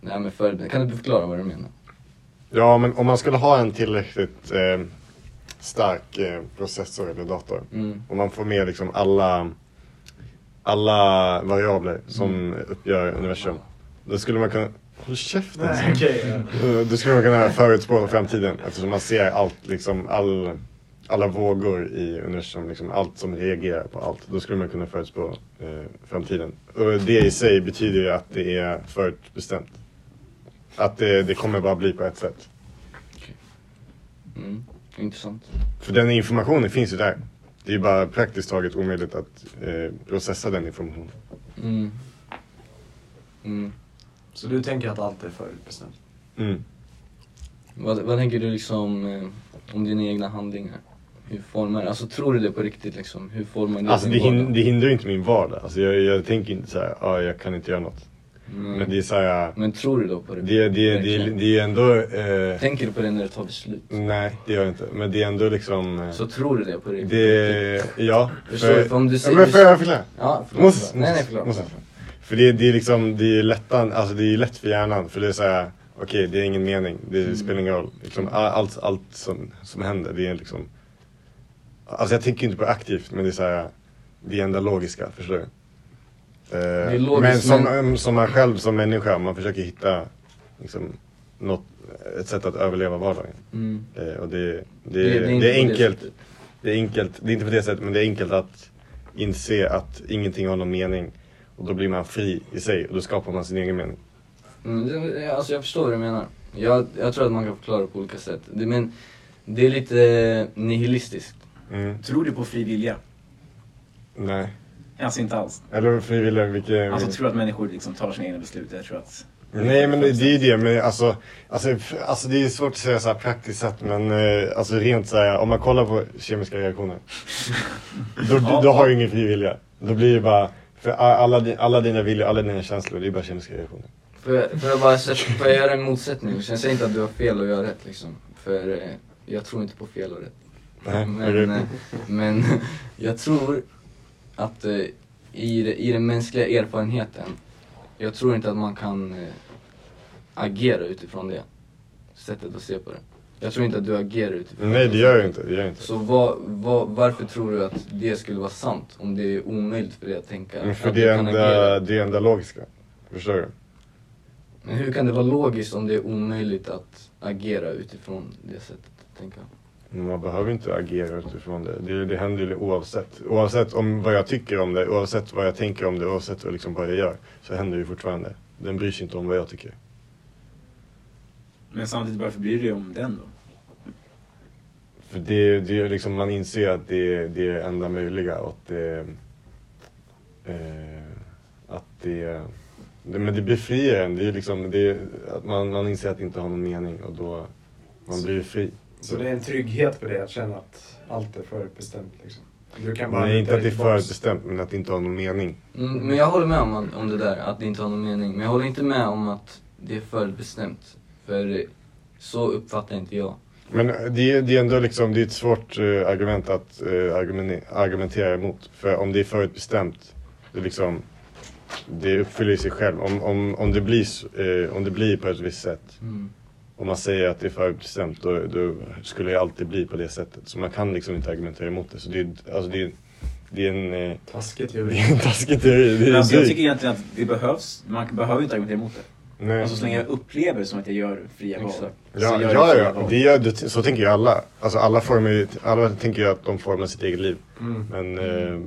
nej men för, kan du förklara vad du menar? Ja, men om man skulle ha en tillräckligt eh, stark eh, processor eller dator. Mm. Om man får med liksom alla, alla variabler som Mm. uppgör universum. Då skulle man kunna... Håll käften! Nej, okej. Eh, Då skulle man kunna förutspå framtiden eftersom man ser allt, liksom, all, alla vågor i universum. Liksom, allt som reagerar på allt. Då skulle man kunna förutspå eh, framtiden. Och det i sig betyder ju att det är förutbestämt. Att det, det kommer bara bli på ett sätt. Mm. Intressant. För den informationen finns ju där. Det är ju bara praktiskt taget omöjligt att eh, processa den informationen. Mm. Mm. Så du tänker att allt är förutbestämt? Mm. Vad, vad tänker du liksom eh, om dina egna handlingar? Hur formar alltså tror du det på riktigt liksom? Hur formar det Alltså din det, hin- vardag? det hindrar ju inte min vardag. Alltså, jag, jag tänker inte så här, ah, jag kan inte göra något. Mm. Men det är så här, Men tror du då på det? det, det, det, det, det Verkligen. är Mm. ju ändå... Eh, Tänker du på det när du tar beslut? nej, det gör jag inte. Men det är ändå liksom... Eh, Så tror du det på riktigt? det, ja. Förstår du? För om du ja, säger... men får jag förklara? Ja, förlåt. Måste, nej, nej, måste, förlåt. måste. För det, det är liksom, det är lättan, alltså det är lätt för hjärnan. För det är såhär, okej det är ingen mening, det Mm. spelar ingen roll. Liksom, all- allt, allt som, som händer, det är liksom. Alltså jag tänker ju inte på aktivt, men det är såhär, det är enda logiska, förstår du? Eh, är logiskt, men som, mm, men- em, som man själv som människa, man försöker hitta liksom, något, ett sätt att överleva vardagen. Mm. Eh, och det, det, Det- det, är det är inte på det enkelt. sättet. Det är enkelt, det är inte på det sättet men det är enkelt att inse att ingenting har någon mening. Och då blir man fri i sig och då skapar man sin egen mening. Mm, det- alltså jag förstår vad du menar. Jag, jag tror att man kan förklara på olika sätt. Det, men det är lite nihilistiskt. Mm. Tror du på fri vilja? Nej. Alltså inte alls. Eller frivilliga, vilket... Alltså tror du att människor liksom tar sina egna beslut? Jag tror att... Nej men det, det är ju det, men alltså, alltså, f- alltså det är svårt att säga så här praktiskt sett men eh, alltså rent så här, om man kollar på kemiska reaktioner. då, då, då har du ingen fri vilja. Då blir det bara, för a- alla, di- alla dina viljor, alla dina känslor, det är bara kemiska reaktioner. Får jag, får jag bara sätta, får jag göra en motsättning? Sen säger inte att du har fel och jag har rätt liksom. För eh, jag tror inte på fel och rätt. Nej, Men, okej. eh, men jag tror att eh, i, det- i den mänskliga erfarenheten, jag tror inte att man kan eh, agera utifrån det. Sättet att se på det. Jag tror inte att du agerar utifrån Nej det gör jag inte, det gör jag inte. Så vad, vad, varför tror du att det skulle vara sant om det är omöjligt för dig att tänka? Men för att det du är kan enda, agera? det är enda logiska. Förstår du? Men hur kan det vara logiskt om det är omöjligt att agera utifrån det sättet att tänka? Men Man behöver inte agera utifrån det. Det, det händer ju oavsett. Oavsett om vad jag tycker om det, oavsett vad jag tänker om det, oavsett vad, liksom, vad jag gör. Så händer det ju fortfarande. Den bryr sig inte om vad jag tycker. Men samtidigt, varför bryr du dig om den då? För det, det är liksom, man inser att det, det är det enda möjliga och att det... Eh, att det, det... Men det befriar en. Det är liksom, det, att man, man inser att det inte har någon mening och då... Man blir fri. Så det är en trygghet för dig att känna att allt är förutbestämt liksom? Du kan bara Nej, luta inte att det dig är tillbaks. förutbestämt, men att det inte har någon mening. Mm, men jag håller med om, att- om det där, att det inte har någon mening. Men jag håller inte med om att det är förutbestämt. För eh, så uppfattar inte jag. Men det, är- det är ändå liksom, det är ett svårt eh, argument att eh, argumene- argumentera emot. För om det är förutbestämt, det, är liksom, det uppfyller sig själv. Om, om, om, det blir, s- eh, om det blir på ett visst sätt, om man säger att det är förutbestämt, då, då skulle det alltid bli på det sättet. Så man kan liksom inte argumentera emot det. Så det, är- alltså det, är- det är en... eh, Taskigt Det ju. är en taskig teori. Det Men är alltså, jag tycker dyrt. egentligen att det behövs. Man behöver inte argumentera emot det. Nej. Alltså så länge jag upplever det som att jag gör fria val. Exakt. så Ja, gör jag ja, fria ja. val. Det gör, det, så tänker ju alla. Alltså alla, formar, ju- alla tänker ju att de formar sitt eget liv. Mm. Men... eh,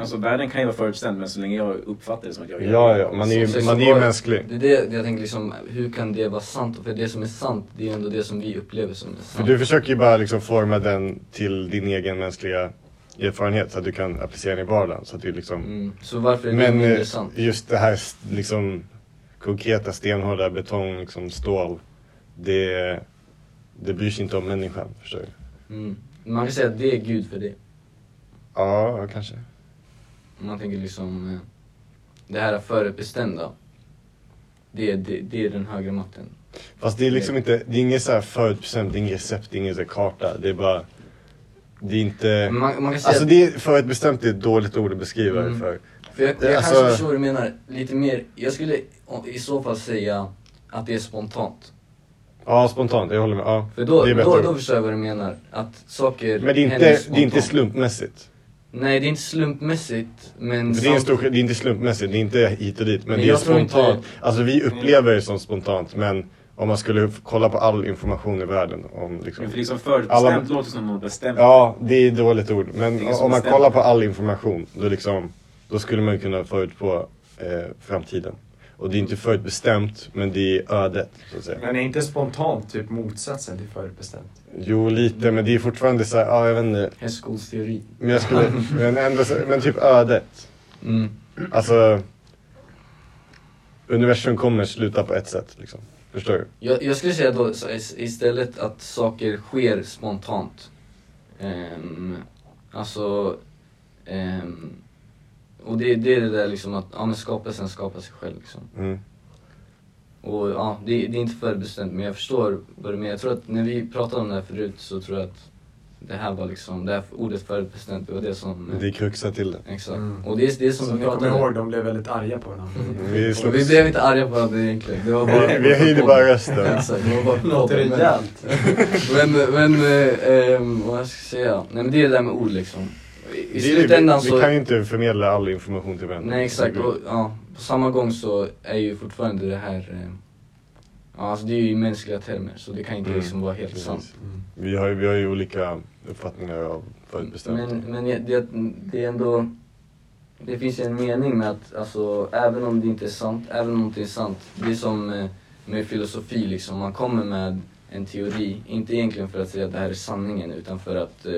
Alltså världen kan ju vara förutbestämd men så länge jag uppfattar det som att jag gör Ja, ja, man är Så- ju, så- man är så- ju mänsklig. Det är det det jag tänker liksom, hur kan det vara sant? För det som är sant, det är ju ändå det som vi upplever som är För sant. du försöker ju bara liksom forma den till din egen mänskliga erfarenhet så att du kan applicera den i vardagen. Så att du liksom, Mm. Så varför är det men mindre eh, sant? just det här s- liksom, konkreta stenhårda betong, liksom, stål. Det, det bryr sig inte om människan, förstår du? Mm. Man kan säga att det är Gud för dig. Ja, ja, kanske. Om Man tänker liksom, eh, det här förutbestämda, det är, det, det är den högre makten. Fast det är liksom inte, det är inget så här förutbestämt, det är inget recept, det är ingen så här karta. Det är bara, det är inte... Men Man, man kan säga Alltså att- det är, förutbestämt är ett dåligt ord att beskriva det Mm. för. För jag, jag Alltså- kanske förstår vad du menar lite mer. Jag skulle o- i så fall säga att det är spontant. Ja, spontant, jag håller med. Ja. För då, Det är bättre. då, då förstår jag vad du menar. Att saker Men det är händer inte, spontant. det är inte slumpmässigt. Nej, det är inte slumpmässigt. Men För det, är en samt- stor, skill- det är inte slumpmässigt, det är inte hit och dit. Men, Men det är jag tror inte- spontant. Alltså vi upplever det som spontant men om man skulle f- kolla på all information i världen om liksom... Men för liksom förutbestämt Alla- låter som något bestämt. Ja, det är ett dåligt ord. Men Det är som om man bestämt. kollar på all information då liksom, då skulle man ju kunna förutspå eh, framtiden. Och det är inte förutbestämt men det är ödet så att säga. Men är inte spontant typ motsatsen till förutbestämt? Jo lite men det är fortfarande såhär, ja jag vet inte. Hästskosteori. Men jag skulle, men ändå, så- men typ ödet. Mm. Alltså, universum kommer sluta på ett sätt liksom. Förstår du? Jag, jag skulle säga då så is- istället att saker sker spontant. Um, alltså... ehm, och det, det är det där liksom att ja, men skapelsen skapar sig själv liksom. Mm. Och ja, det, det är inte förbestämt men jag förstår vad du menar. Jag tror att när vi pratade om det här förut så tror jag att det här var liksom, det här ordet förbestämt, det var det som... Det är kruxa till det. Exakt. Mm. Och det är det är som Som vi ni kommer pratade ihåg, om. de blev väldigt arga på varandra. Vi, Och vi slogs, blev inte arga på varandra egentligen. Det var bara... vi höjde bara rösten. Exakt, det var bara Låter podden. rejält. Men, men, eh, ehm, vad jag ska säga? Nej men det är det där med ord liksom. I, i Det är det, slutändan vi, så... vi kan Mm. ju inte förmedla all information till varandra. Nej exakt, och ehm, ja, på samma gång så är ju fortfarande det här eh, Ja, alltså det är ju i mänskliga termer så det kan inte Mm. liksom vara helt Precis. sant. Mm. Vi har ju, vi har ju olika uppfattningar av förutbestämt. Mm. Men, men det- det, det är ändå... Det finns ju en mening med att alltså, även om det inte är sant, även om någonting är sant. Det är som eh, med filosofi liksom. Man kommer med en teori, inte egentligen för att säga att det här är sanningen utan för att eh,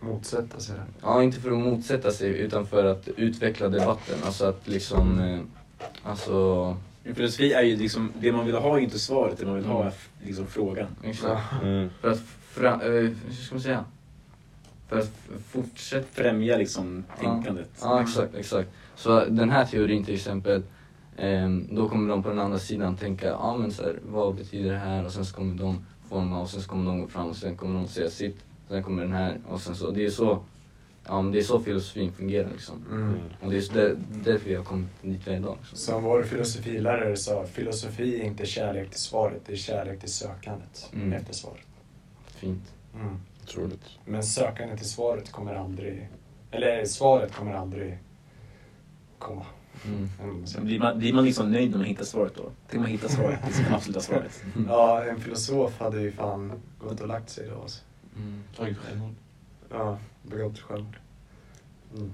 Motsätta sig det. Ja, inte för att motsätta sig utan för att utveckla debatten. Alltså att liksom, eh, alltså... Men Filosofi är ju liksom, det man vill ha är ju inte svaret, det man vill ha är f- liksom frågan. Exakt. Mm. För att, fra, eh, hur ska man säga? För att f- fortsätta... Främja liksom Ja. tänkandet. Ja, exakt, exakt. Så den här teorin till exempel, ehm, då kommer de på den andra sidan tänka, ja ah, men så här, vad betyder det här? Och sen så kommer de forma och sen så kommer de gå fram och sen kommer de säga sitt. Sen kommer den här och sen så. Det är så, ja, men det är så filosofin fungerar liksom. Mm. Och det är så där, därför jag har kommit dit jag är idag. Liksom. Som vår filosofilärare sa, filosofi är inte kärlek till svaret, det är kärlek till sökandet Mm. efter svaret. Fint. Otroligt. Mm. Men sökandet till svaret kommer aldrig, eller svaret kommer aldrig komma. Mm. Mm. Så blir, man, blir man liksom nöjd när man hittar svaret då? Tänk man hittar svaret, liksom det absoluta svaret. Mm. Ja, en filosof hade ju fan gått och lagt sig idag alltså. Mm. Tagit självmord. Ja, begått självmord. Mm.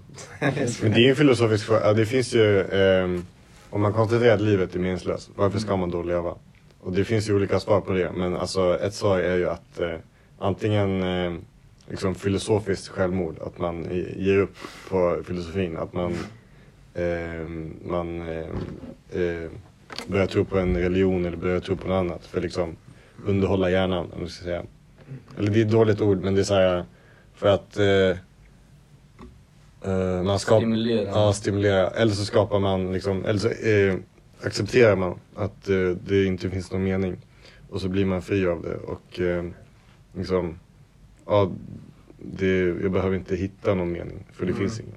Men det är ju en filosofisk fråga. Ja, Det finns ju, ehm, om man konstaterar att livet är meningslöst, varför ska man då leva? Och det finns ju olika svar på det, men alltså ett svar är ju att eh, antingen eh, liksom filosofiskt självmord, att man i- ger upp på filosofin, att man, ehm, man eh, eh, börjar tro på en religion eller börjar tro på något annat för att liksom underhålla hjärnan, om man ska säga. Eller det är ett dåligt ord, men det är så här för att eh, eh, man skapar Stimulera. Ja, stimulera. Eller så skapar man liksom, eller så eh, accepterar man att eh, det inte finns någon mening. Och så blir man fri av det och eh, liksom, ja, det, jag behöver inte hitta någon mening för det Mm. finns ingen.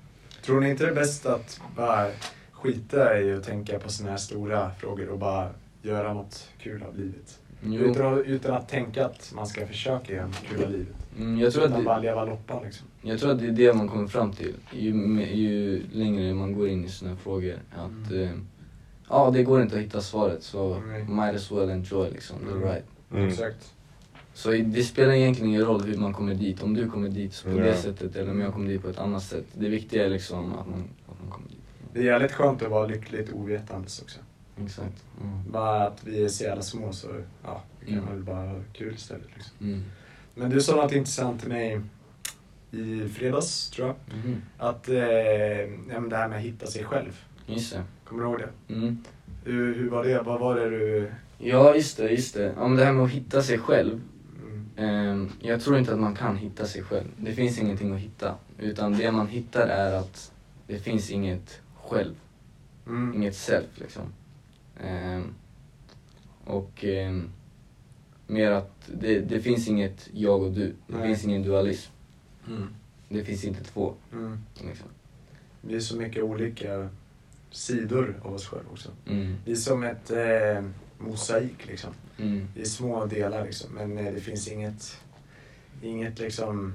Tror ni inte det är bäst att bara skita i att tänka på såna här stora frågor och bara göra något kul av livet? Jo, Utan, utan att tänka att man ska försöka göra något kul av livet. mm, jag tror att utan bara det, leva loppan liksom. jag tror att det är det man kommer fram till ju, me- ju längre man går in i såna här frågor. Att eh, ja, det går inte att hitta svaret så Nej. might as well enjoy liksom, the Mm. right. Mm. Exakt. Så i- det spelar egentligen ingen roll hur man kommer dit, om du kommer dit på Ja. det sättet eller om jag kommer dit på ett annat sätt. Det viktiga är liksom att man, att man kommer dit. Det är jävligt skönt att vara lyckligt ovetandes också. Exakt. Mm. Bara att vi är så jävla små så ja, vi kan Mm. väl bara ha kul istället. Liksom. Mm. Men du sa något intressant till mig i fredags tror jag. Mhm. Att eh, ja, men det här med att hitta sig själv. Just det. Kommer du ihåg det? Mm. Hur, hur var det? Vad var det du... Ja, just det, just det. Ja, men det här med att hitta sig själv. Mm. Ehm, jag tror inte att man kan hitta sig själv. Det finns ingenting att hitta. Utan det man hittar är att det finns inget själv, Mm. inget self liksom. Ehm, och ehm, mer att det, det finns inget jag och du. Det Nej. finns ingen dualism. Mm. Det finns inte två. Mm. Liksom. Vi är så mycket olika sidor av oss själva också. Mm, Vi är som ett eh, mosaik liksom. mm, Vi är små delar liksom. Men eh, det finns inget, inget liksom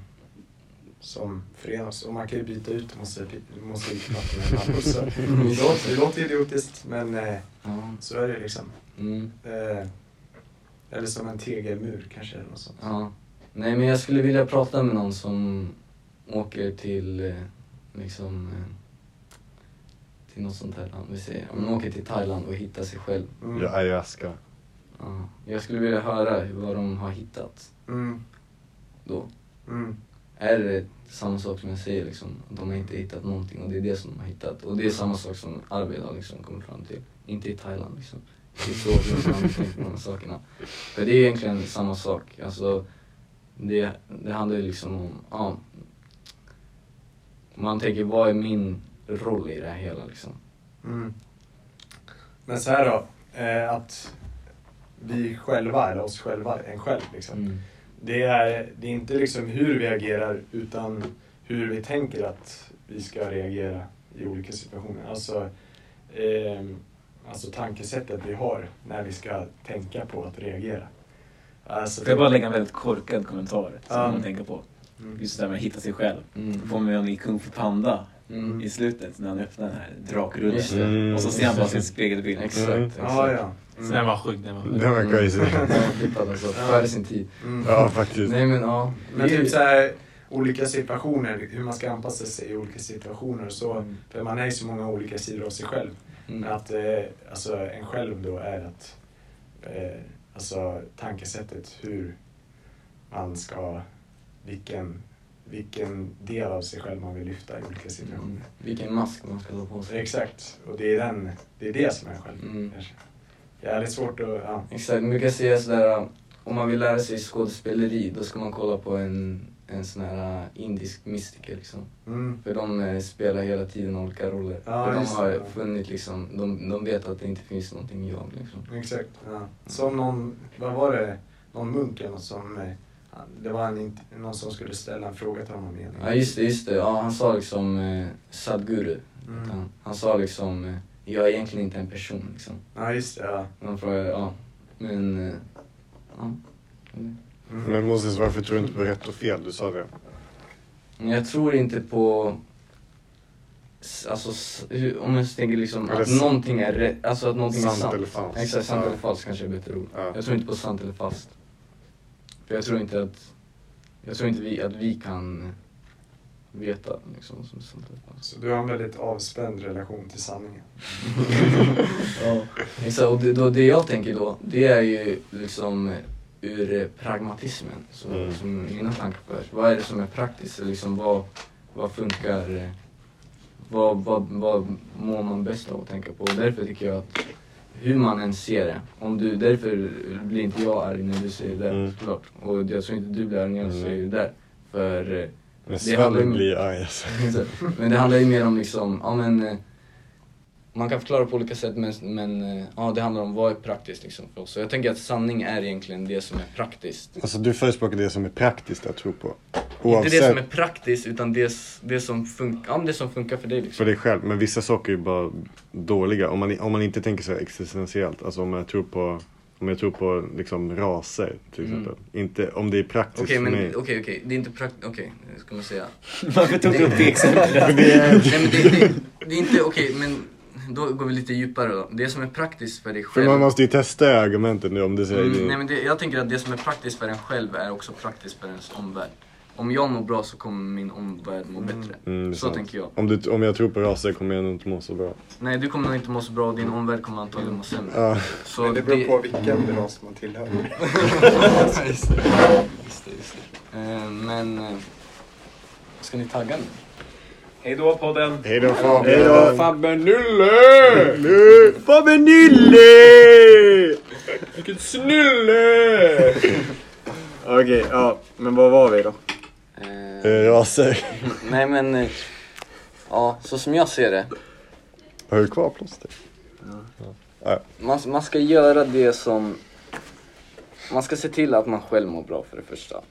som förenar oss. Och man kan ju byta ut mosaik- mosaikplattor med en annan mosa. Mm. Det låter- Det låter idiotiskt men eh, ja, så är det liksom. mm. Eh, eller som en tegelmur kanske eller något sånt. Ja. Nej men jag skulle vilja prata med någon som åker till eh, liksom eh, till något sånt här land, vi säger. Om man åker till Thailand och hittar sig själv. Mm. Ja, ayahuasca. Ja. Jag skulle vilja höra hur- vad de har hittat Mm. då. Mm. Är det samma sak som jag säger liksom? att De har inte hittat någonting och det är det som de har hittat. Och det är samma sak som Arvid har liksom kommit fram till. Inte i Thailand liksom. Det är så liksom, han har tänkt på de här sakerna. För det är egentligen samma sak. Alltså, det, det handlar ju liksom om, ja. Man tänker, vad är min roll i det här hela liksom? Mm. Men så här då, eh, att vi själva, eller oss själva, en själv liksom. Mm. Det, är, det är inte liksom hur vi agerar utan hur vi tänker att vi ska reagera i olika situationer. Alltså, eh, alltså tankesättet vi har när vi ska tänka på att reagera. Alltså, Får jag bara lägga en väldigt korkad kommentar som Ja. man tänker på? Mm. Just det där med att hitta sig själv. Mm. Jag påminner om i Kung Fu Panda Mm. i slutet när han öppnar den här drakrullen. Just det. Mm. Och så ser han bara sin spegelbild. Exakt, Mm. exakt. Ja, ja. Den var sjuk, den var sjuk. Det var crazy. Flippad alltså, före sin tid. Mm. Ja, faktiskt. Nej men ja. Men Det är- typ så här, olika situationer, hur man ska anpassa sig i olika situationer och så. Mm. För man är ju så många olika sidor av sig själv. Men Mm. Att eh, alltså, en själv då är att eh, alltså, tankesättet hur man ska, vilken, vilken del av sig själv man vill lyfta i olika Mm. situationer. Vilken mask man ska ta på sig. Exakt, och det är, den, det är det som är själv. Mm. kanske. Det är lite svårt att... Ja. Exakt, man brukar säga sådär om man vill lära sig skådespeleri då ska man kolla på en, en sån här äh, indisk mystiker liksom. Mm. För de eh, spelar hela tiden olika roller. Ja, För de just har det. funnit liksom, de, de vet att det inte finns någonting jag liksom. Exakt. Ja. Som någon, vad var det, någon munk eller något som, eh, han- det var en, int- någon som skulle ställa en fråga till honom igen. Ja just det, just det. Ja, han sa liksom eh, Sadguru. Mm. Han, han sa liksom, eh, jag är egentligen inte en person liksom. Ja, just det. Ja. De frågade, ja. Men, eh, ja. Mm. Men Moses, varför tror du inte på rätt och fel? Du sa det. Men jag tror inte på... s- Alltså, s- hur- om jag tänker liksom Eller att s- någonting är rätt, alltså att någonting är Sant sant. eller falskt. Exakt, sant Ja. eller falskt kanske är ett bättre ord. Ja. Jag tror inte på sant eller falskt. För jag tror inte att, jag tror inte vi, att vi kan veta liksom vad som är sant eller falskt. Så du har en väldigt avspänd relation till sanningen. Ja, exakt. Och det, då, det jag tänker då, det är ju liksom ur pragmatismen som, Mm. som mina tankar förs. Vad är det som är praktiskt? Liksom vad, vad funkar? eh, Vad, vad, vad mår man bäst av att tänka på? Och därför tycker jag att hur man än ser det, om du, därför blir inte jag arg när du säger det Mm. såklart. Och jag tror inte du blir arg när jag Mm. säger det där. För eh, Men Det handlar ju Sven om- blir arg alltså. så, men det handlar ju mer om liksom, ja men eh, man kan förklara på olika sätt men, men eh, ja, det handlar om vad är praktiskt liksom för oss. Så jag tänker att sanning är egentligen det som är praktiskt. Alltså du förespråkar det som är praktiskt att tro på. Inte det som är Oavsett praktiskt utan det, s- det, som, funkar, ja, men det som funkar för dig liksom. för dig själv. Men vissa saker är ju bara dåliga. Om man, om man inte tänker så här existentiellt. Alltså om jag tror på, om jag tror på liksom raser till Mm. exempel. Inte om det är praktiskt Okej för men mig. okej okej, det är inte praktiskt, okej hur ska man säga? Varför tog du upp det exemplet? För det är, Nej men det, det, det är inte, okej men då går vi lite djupare då. Det som är praktiskt för dig för själv. man måste ju testa argumenten nu om det säger Mm, det. nej men det, jag tänker att det som är praktiskt för en själv är också praktiskt för ens omvärld. Om jag mår bra så kommer min omvärld må bättre. Mm, det är så sant. tänker jag. Om, du, om jag tror på raser kommer jag nog inte må så bra. Nej, du kommer nog inte må så bra och din omvärld kommer antagligen må sämre. Ja. Så Men det beror på vilken ras man tillhör. Ja, just det. Just det, just det. Eh, men... eh, Ska ni tagga nu? Hej då podden! Hej då Fabian! Fabbe Nulle! Fabian Nille! Vilken snulle! Okej, ja. Men vad var vi då? Eh, Raser. nej men... eh, Ja, så som jag ser det. Har du kvar plåster? Man, man ska göra det som... Man ska se till att man själv mår bra för det första.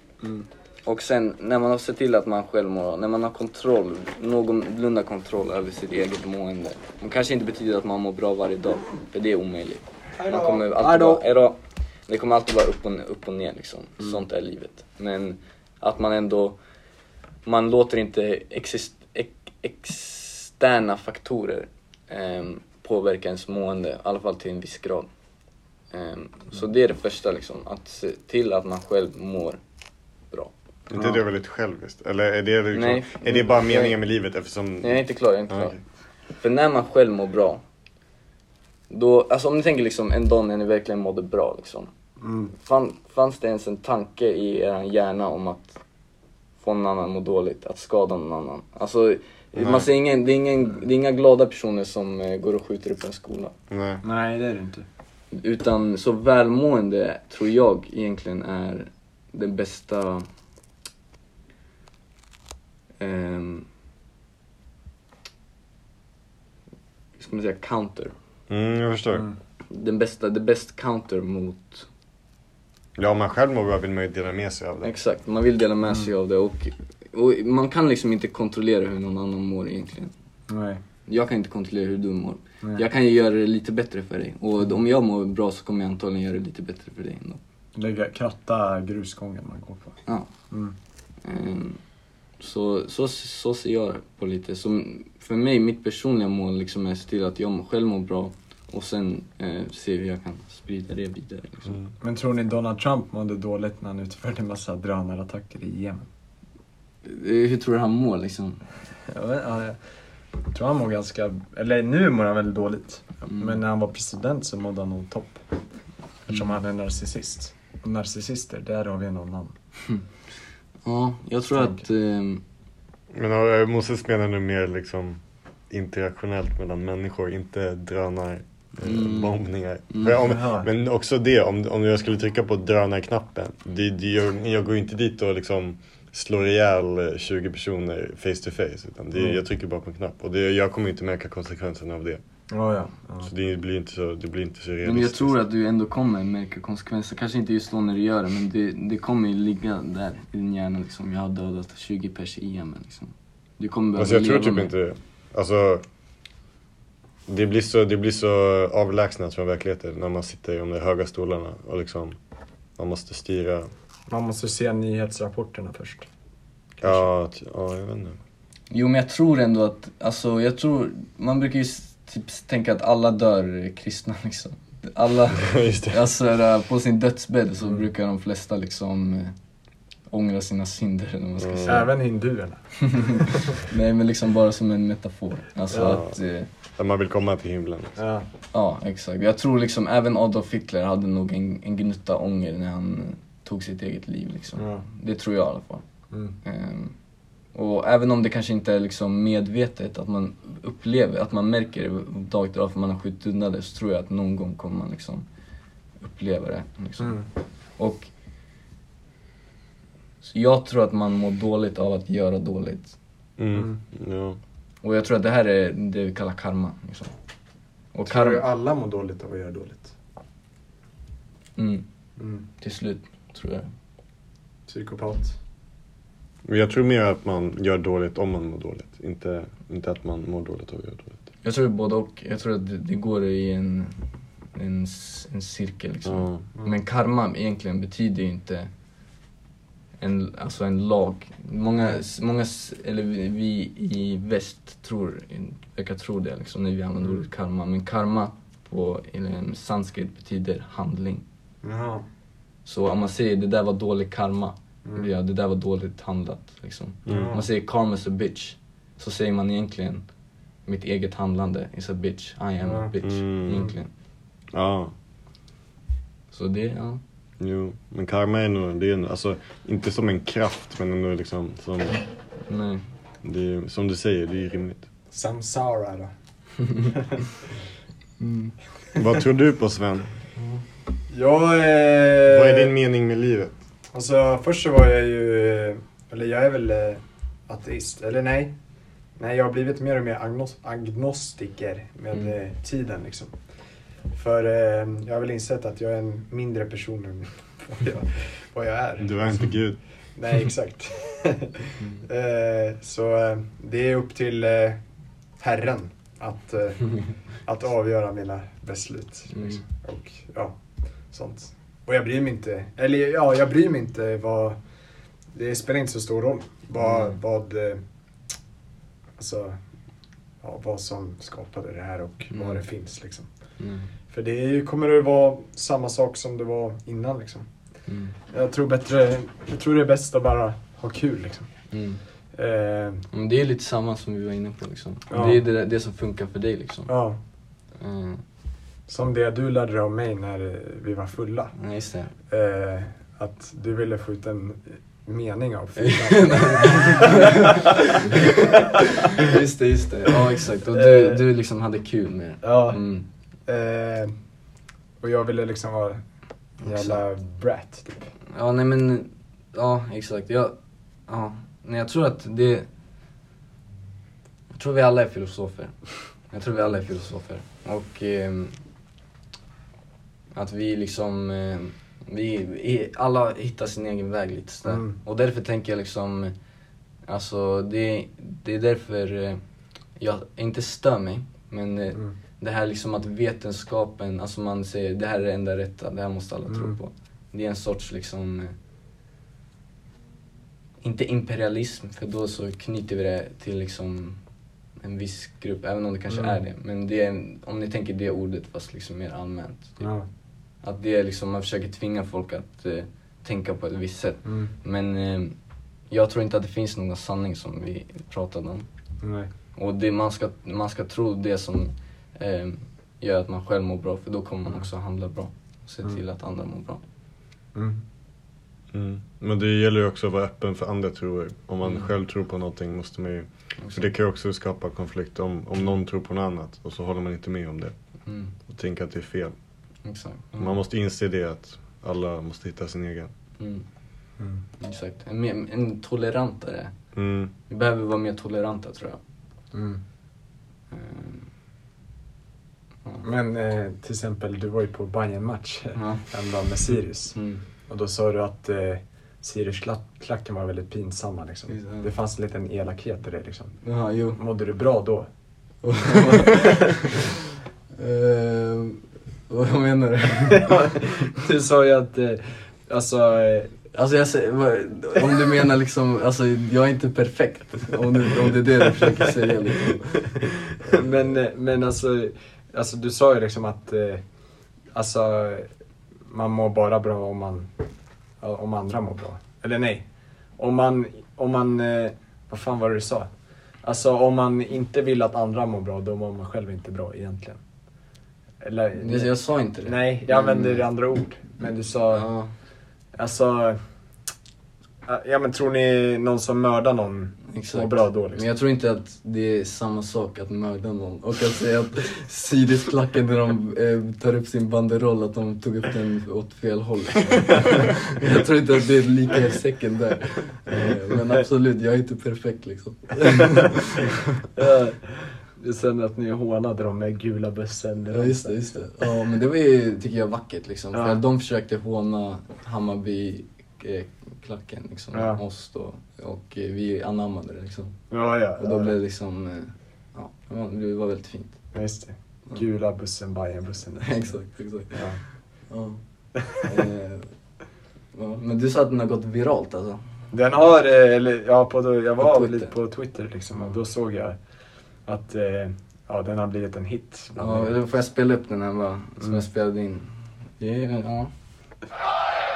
Och sen när man har sett till att man själv mår bra, när man har kontroll, någorlunda kontroll över sitt eget mående. Det kanske inte betyder att man mår bra varje dag, för det är omöjligt. Man kommer alltid vara, hejdå. Det kommer alltid vara upp och, upp och ner liksom. Sånt är livet. Men att man ändå, man låter inte exist, ex, externa faktorer ehm, påverka ens mående, i alla fall till en viss grad. Ehm, Så det är det första liksom, att se till att man själv mår bra. Är inte det väldigt själviskt? Eller är det, liksom, Nej. är det bara Nej. meningen med livet eftersom... Nej, jag är inte klar, jag är inte Ah, klar. okej. För när man själv mår bra, då, alltså om ni tänker liksom en dag när ni verkligen mådde bra liksom. Mm. Fann, fanns det ens en tanke i er hjärna om att få någon annan att må dåligt, att skada någon annan? Alltså, man ser ingen, det, är ingen, det är inga glada personer som eh, går och skjuter upp en skola. Nej. Nej, det är det inte. Utan så välmående tror jag egentligen är den bästa... ehm, hur ska man säga? Counter. Mm, jag förstår. Den bästa, the best counter mot... Ja, om man själv mår bra vill man ju dela med sig av det. Exakt, man vill dela med sig av det och, och man kan liksom inte kontrollera hur någon annan mår egentligen. Nej. Jag kan inte kontrollera hur du mår. Nej. Jag kan ju göra det lite bättre för dig. Och om jag mår bra så kommer jag antagligen göra det lite bättre för dig ändå. Lägga, kratta grusgången man går på. Ja. Mm. Ehm, Så, så, så ser jag på lite. Som för mig, mitt personliga mål liksom är att se till att jag själv mår bra Och sen eh, se hur jag kan sprida det vidare. Liksom. Mm. Men tror ni Donald Trump mådde dåligt när han utförde en massa drönarattacker i Yemen? Eh, Hur tror du han mår liksom? Jag, vet, ja, jag tror han mår ganska... Eller nu mår han väldigt dåligt. Mm. eh, Men när han var president så mådde han nog topp. Eftersom han är narcissist. Och narcissister, där har vi en annan. Ja, jag tror Tanke. att... ehm, Men eh, Moses menar nu mer liksom interaktionellt mellan människor, inte drönar. Mm. Mm. Bombningar. Mm. Men, om, Jaha. men också det, om, om jag skulle trycka på drönarknappen. Det, det, jag, jag går ju inte dit och liksom slår ihjäl eh, 20 personer face to face. Utan det, Mm. Jag trycker bara på en knapp och det, jag kommer inte märka konsekvenserna av det. Ja, ja. ja. Så det blir inte så, det blir inte så realistiskt. Mm. men jag tror att du ändå kommer märka konsekvenser. Kanske inte just då när du gör det, men det, det kommer ju ligga där i din hjärna. Liksom. Jag har dödat 20 pers i Yemen. Liksom. Du kommer behöva Alltså jag tror leva typ med- inte det. Alltså, det blir så, det blir så avlägsnat från verkligheten när man sitter i de där höga stolarna och liksom man måste styra. Man måste se nyhetsrapporterna först. Ja, ty- ja, jag vet inte. Jo men jag tror ändå att, alltså jag tror, man brukar ju s- typ tänka att alla dör eh, kristna liksom. Alla, Just det. alltså är det på sin dödsbädd Mm. så brukar de flesta liksom eh, ångra sina synder eller vad man ska Mm. säga. Även hinduerna. Nej men liksom bara som en metafor. Alltså Ja. att, eh, Att man vill komma till himlen. Ja. ja exakt. Jag tror liksom även Adolf Hitler hade nog en, en gnutta ånger när han eh, tog sitt eget liv liksom. Ja. Det tror jag i alla fall. Mm. Ehm, och även om det kanske inte är liksom medvetet att man upplever, att man märker det dag till dag för man har skjutit undan det så tror jag att någon gång kommer man liksom uppleva det. Liksom. Mm. Och så jag tror att man mår dåligt av att göra dåligt. Mm. Ja. Och jag tror att det här är det vi kallar karma. Liksom. Och Tror du karma, alla mår dåligt av att göra dåligt? mm, Mm. till slut tror jag. Psykopat. Men jag tror mer att man gör dåligt om man mår dåligt. Inte, inte att man mår dåligt av att göra dåligt. Jag tror både och. Jag tror att det, det går i en, en, s- en cirkel liksom. Ja. Mm. Men karma egentligen betyder ju inte en, alltså en lag. Många, många s- eller vi- vi i väst tror, verkar tro det liksom, när vi använder Mm. ordet karma. Men karma på eller, en sanskrit betyder handling. Jaha. Så om man säger det där var dålig karma, Mm. ja, det där var dåligt handlat. Liksom. Om Ja. man säger karma's a bitch, så säger man egentligen mitt eget handlande is a bitch, I am a Ja. bitch. Mm. Egentligen. ja. Så det, ja. Jo. Men karma är nog, det är en, alltså inte som en kraft men ändå liksom som, Nej. det är, som du säger, det är ju rimligt. Samsara då? Vad tror du på Sven? Jag... Eh... Vad är din mening med livet? Alltså först så var jag ju, eh, eller jag är väl eh, ateist, eller nej. Nej, jag har blivit mer och mer agnos- agnostiker med Mm. eh, tiden liksom. För eh, jag har väl insett att jag är en mindre person än vad jag, vad jag är. Du är inte Gud. Nej, exakt. Mm. Eh, så eh, det är upp till eh, Herren att, eh, att avgöra mina beslut. Mm. Liksom. Och ja, sånt. Och jag bryr mig inte, eller ja, jag bryr mig inte vad, det spelar inte så stor roll vad, Mm. vad, eh, alltså, ja, vad som skapade det här och Mm. vad det finns liksom. Mm. För det är ju- kommer det vara samma sak som det var innan liksom. Mm. Jag tror bättre, jag tror det är bäst att bara ha kul liksom. Mm. Eh, Ja, Men det är lite samma som vi var inne på liksom. Ja. Det är det, det som funkar för dig liksom. ja, Mm. som det du lärde dig av mig när eh, vi var fulla. Nej, just det. Eh, att du ville få ut en eh, mening av fyllan. Nej. just det, just det. Ja, exakt. Och du, Eh. du liksom hade kul med det. ja, Mm. eh, och jag ville liksom vara en jävla brat typ. Ja, nej men... Ja, exakt. Jag, ja. Nej, jag tror att det... Jag tror vi alla är filosofer. Jag tror vi alla är filosofer. Och... ehm, att vi liksom... ehm, vi, i- alla hittar sin egen väg lite sådär. Mm. Och därför tänker jag liksom... Alltså, det, det är därför eh, jag inte stör mig. Men eh, Mm. det här liksom att vetenskapen, alltså man säger det här är det enda rätta, det här måste alla tro Mm. på. Det är en sorts liksom, eh, inte imperialism för då så knyter vi det till liksom en viss grupp, även om det kanske är det. Men det är, en- om ni tänker det ordet fast liksom mer allmänt. Typ. Ja. Att det är liksom, man försöker tvinga folk att eh, tänka på ett visst sätt. Mm. Men eh, jag tror inte att det finns någon sanning som vi pratade om. Nej. Och det, man, ska, man ska tro det som eh, gör att man själv mår bra, för då kommer man också handla bra. Och se Mm. till att andra mår bra. Mm. Mm. Men det gäller ju också att vara öppen för andra troer. Om man Mm. själv tror på någonting måste man ju... För det kan ju också skapa konflikt om, om någon tror på något annat och så håller man inte med om det Mm, och tänker att det är fel. exakt. Man måste inse det att alla måste hitta sin egen. Mm, Mm. exakt. En, mer- en tolerantare. Mm. Vi behöver vara mer toleranta tror jag. Mm. Ehm, Men eh, till exempel, du var ju på bayern match ja. häromdagen med Sirius. Mm. Och då sa du att eh, Sirius-klacken var väldigt pinsamma. Just det. Liksom. Det fanns en liten elakhet i det. Liksom. Ja, jo. Mådde du bra då? Ehm, vad menar du? du sa ju att, eh, alltså, eh, Alltså jag säger, vad- om du menar liksom, alltså jag är inte perfekt. Om, du, om det är det du försöker säga liksom. men, eh, men alltså, alltså, du sa ju liksom att, eh, alltså, man mår bara bra om, man, ja, om andra mår bra. Eller nej, om man, om man, eh, vad fan var det du sa? Alltså om man inte vill att andra mår bra, då mår man själv inte bra egentligen. Eller, Det- Jag sa inte det. Mm. Nej, jag använder andra ord. Men du sa, Ja. alltså... Ja men tror ni någon som mördar någon Exakt. mår bra då liksom? Men jag tror inte att det är samma sak att mörda någon och att säga att Siriusklacken när de eh, tar upp sin banderoll att de tog upp den åt fel håll. liksom. jag tror inte att det är lika i säcken där. Eh, men absolut, jag är inte perfekt liksom. Jag... Sen att ni hånade dem med gula bössen. Ja just det, just det. Ja men det var ju, tycker jag, vackert liksom. Ja. För de försökte håna Hammarby eh, klacken liksom, Ja. oss då. Och eh, vi anammade det liksom. Ja, ja. Och då blev det liksom, eh, ja, det var- det var väldigt fint. ja just det. Gula bussen, Bajenbussen. exakt, exakt. Ja. Ja. Eh, ja. Men du sa att den har gått viralt alltså? Den har, eh, eller ja, på, då- jag På var Twitter. lite på Twitter liksom och då såg jag att eh, ja, den har blivit en hit. bland Ja, er. då får jag spela upp den här bara, som Mm. jag spelade in. Det är, ja.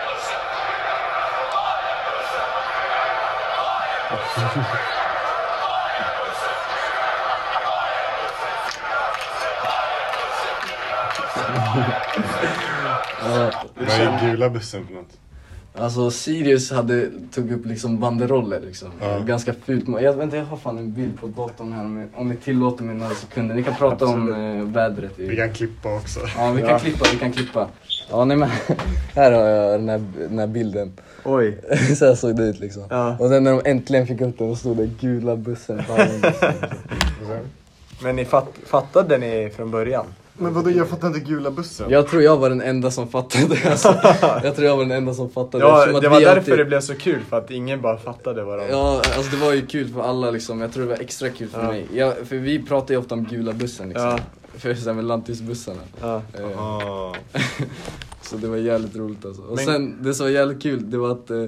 ja. Vad är gula bussen för något? Alltså Sirius hade, tog upp liksom banderoller liksom. Ja. Ganska fult. Jag, vänta, jag har fan en bild på datorn här om, om ni tillåter mig några sekunder. Ni kan prata om eh, vädret. I, Vi kan klippa också. Ja, vi kan Ja. klippa, vi kan klippa. Ja, nej men här har jag den här, den här bilden. Oj. Så här såg det ut liksom. Ja. Och sen när de äntligen fick upp den, då stod det gula bussen. liksom. Fan, bussen. Men ni fatt, fattade ni från början? Men vadå, jag fattar inte gula bussen. Jag tror jag var den enda som fattade. Alltså, jag tror jag var den enda som fattade. Ja, Eftersom att det var vi därför alltid- det blev så kul, för att ingen bara fattade vad de... Ja, alltså det var ju kul för alla liksom. Jag tror det var extra kul för Ja. mig. Jag, för vi pratar ju ofta om gula bussen liksom. Ja. För så här med lantisbussarna. Ja. Eh, Ah. så det var jävligt roligt alltså. Och Men- sen, det som var jävligt kul, det var att eh,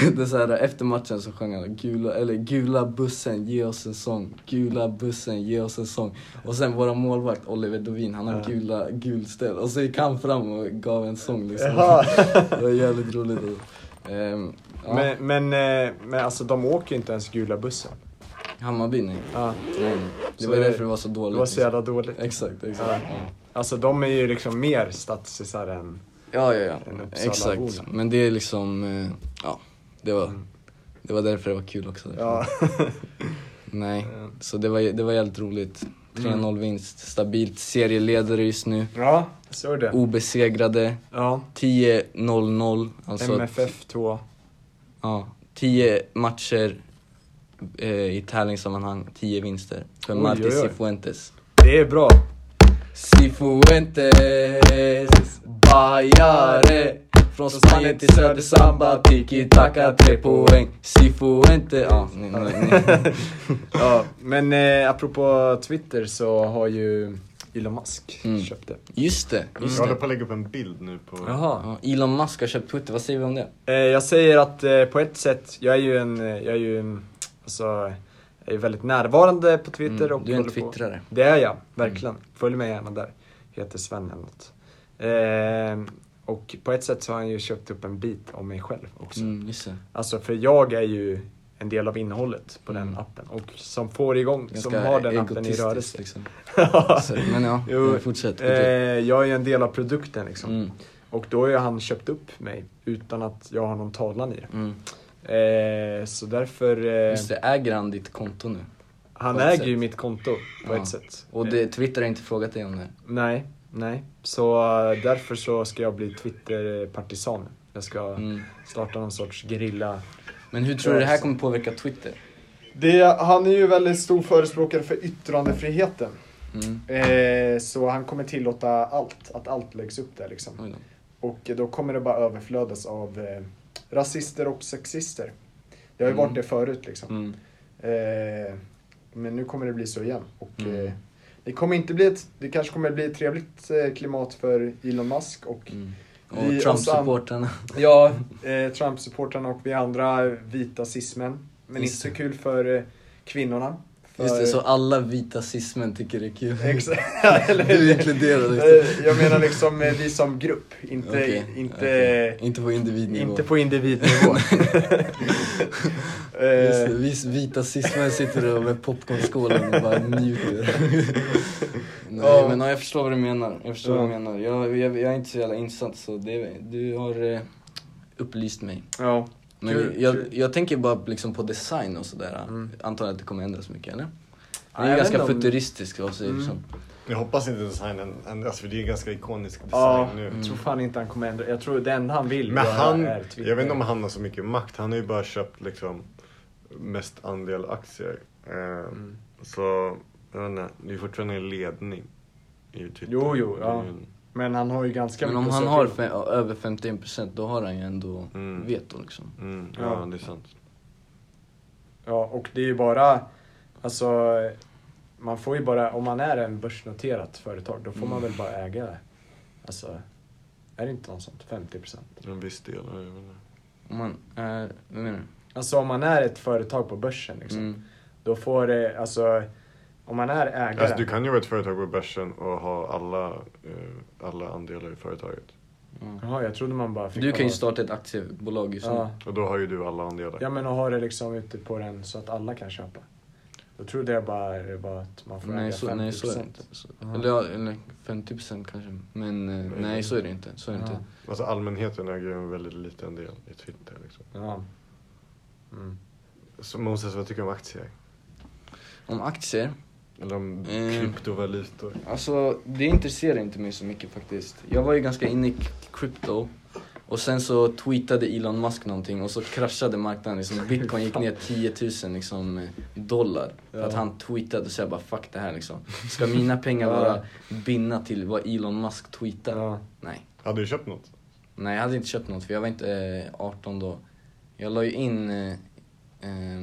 det så här, efter matchen så sjöng han gula, eller, gula bussen, ge oss en sång. Gula bussen, ge oss en sång. Och sen våra målvakt Oliver Dovin, han har Ja. gula, gul ställ. Och så gick han fram och gav en sång liksom. Jaha. Det var jävligt roligt alltså. Ehm, ja, Men, men, eh, men alltså de åker ju inte ens gula bussen. Hammarby nej. Ja, Nej, det Så var det- därför det var så dåligt. det liksom. var så jävla dåligt. Exakt, exakt. Alltså de är ju liksom mer stadsisar än... Ja, ja, ja. En Uppsalabor. Exakt. Men det är liksom, eh, ja. Det var, Mm. det var därför det var kul också. Ja. Nej, så det var, det var jävligt roligt. Mm. 3-0 vinst, stabilt serieledare just nu. ja, så är det. Obesegrade, Ja. 10-0-0. Alltså, MFF 2. Ja, 10 matcher eh, i tävlingssammanhang, 10 vinster. För Oj, Marti oj, oj. Cifuentes. Det är bra. Cifuentes, Bajare Från Spanien till söder samba, tiki-taka, tre poäng Cifuentes, ja, nej, nej, nej. Ja, men eh, apropå Twitter så har ju Elon Musk Mm. köpt det. Just det, Jag just Mm. håller det. på att lägga upp en bild nu på... Jaha. Ja, Elon Musk har köpt Twitter, vad säger vi om det? Eh, jag säger att eh, på ett sätt, jag är ju en, eh, jag är ju en, alltså, Jag är väldigt närvarande på Twitter. Mm, och du är en håller på- twittrare. Det är Mm. jag, verkligen. Följ mig gärna där. Heter Sven eller något. Ehm, och på ett sätt så har han ju köpt upp en bit om mig själv också. Mm, just det. Alltså för jag är ju en del av innehållet på den Mm. appen och som får igång, som Ganska har den appen i egotistiskt, rörelse. Liksom. Så, men ja, Jo, men fortsätt. eh, fortsätt. jag är ju en del av produkten liksom. Mm, Och då har ju han köpt upp mig utan att jag har någon talan i det. mm. Eh, så därför, eh, Just det, äger han ditt konto nu? han på ett äger sätt. ju mitt konto på Ja. ett sätt. Och Eh, det, Twitter har inte frågat dig om det? Nej, nej. Så eh, därför så ska jag bli Twitter-partisan. Jag ska Mm. starta någon sorts gerilla... Men hur tror du det här kommer påverka Twitter? han är ju väldigt stor förespråkare för yttrandefriheten. Mm. Eh, så han kommer tillåta allt, att allt läggs upp där liksom. Oj då. Och eh, då kommer det bara överflödas av eh, rasister och sexister. Det har ju varit Mm. det förut liksom. Mm. Eh, men nu kommer det bli så igen. Och, Mm. eh, det, kommer inte bli ett, det kanske kommer bli ett trevligt eh, klimat för Elon Musk och Mm. Vi alltså, Och och Trump-supportrarna. ja, eh, Trump-supportrarna och vi andra vita cis-män. Men Just inte så kul för eh, kvinnorna. För, Just det, så alla vita cis-män tycker det är kul. Exa- eller- Du är inkluderad. Eh, Jag menar liksom eh, vi som grupp, inte, Okej, inte, okej. inte på individnivå. inte på individnivå. Just Eh, det, vi vita cis-män sitter där med popcornskålen och bara njuter. Nej Ja. men ja, jag förstår vad du menar. Jag förstår vad du Ja. menar. Jag, jag, jag är inte så jävla insatt så det, du har eh, upplyst mig. ja. Men Kul, kul. jag, jag tänker bara liksom på design och sådär. Mm. Antar att det kommer ändras mycket eller? Ja, Den är jag ganska vet inte om- futuristisk av sig Mm. liksom. Jag hoppas inte designen ändras för det är ganska ikonisk design Ja, nu. Mm. jag tror fan inte han kommer ändra. Jag tror det enda han vill Men göra han, är Twitter. jag vet inte om han har så mycket makt. Han har ju bara köpt liksom mest andel aktier. Eh, Mm. Så, jag vet inte. Det är fortfarande en ledning i Twitter. Jo, jo, Det är ja. ju- Men han har ju ganska Men mycket om att han säga har till om. fe- över 51% då har han ju ändå Mm. veto liksom. Mm, ja, Ja. det är sant. Ja, och det är ju bara... Alltså, man får ju bara... Om man är en börsnoterat företag, då får Mm. man väl bara äga det. Alltså, är det inte något sånt? 50 procent? En viss del. ja, Jag vet inte. Om man är, vad menar Alltså om man är ett företag på börsen, du? liksom, Mm. då får det... Alltså, om man är ägare... Alltså, du kan ju vara ett företag på börsen och ha alla, eh, alla andelar i företaget. Ja. Jaha, jag trodde man bara fick... Du kan ju ha- starta liksom. ett aktiebolag just nu. Ja, Och då har ju du alla andelar. ja, men och ha det liksom ute på den så att alla kan köpa. Då trodde jag bara, det var att man får Nej äga så, 50 nej, så är det inte. Så, Ja. eller, ja, eller 50% kanske. Men eh, nej, så är det inte. Så är det Ja. inte. Alltså allmänheten äger ju en väldigt liten del i Twitter. Liksom. Ja. Mm. Så Moses, vad tycker du om aktier? Om aktier, Eller om Eh. kryptovalutor? alltså det intresserar inte mig så mycket faktiskt. Jag var ju ganska inne i crypto och sen så tweetade Elon Musk någonting och så kraschade marknaden. Liksom, Bitcoin gick ner 10 000 liksom, eh, dollar för att Ja. han tweetade och så jag bara fuck det här liksom. Ska mina pengar Ja. vara bindna till vad Elon Musk tweetar? Ja. Nej. Hade du köpt något? Nej, jag hade inte köpt något för jag var inte eh, 18 då. Jag la ju in... Eh, eh,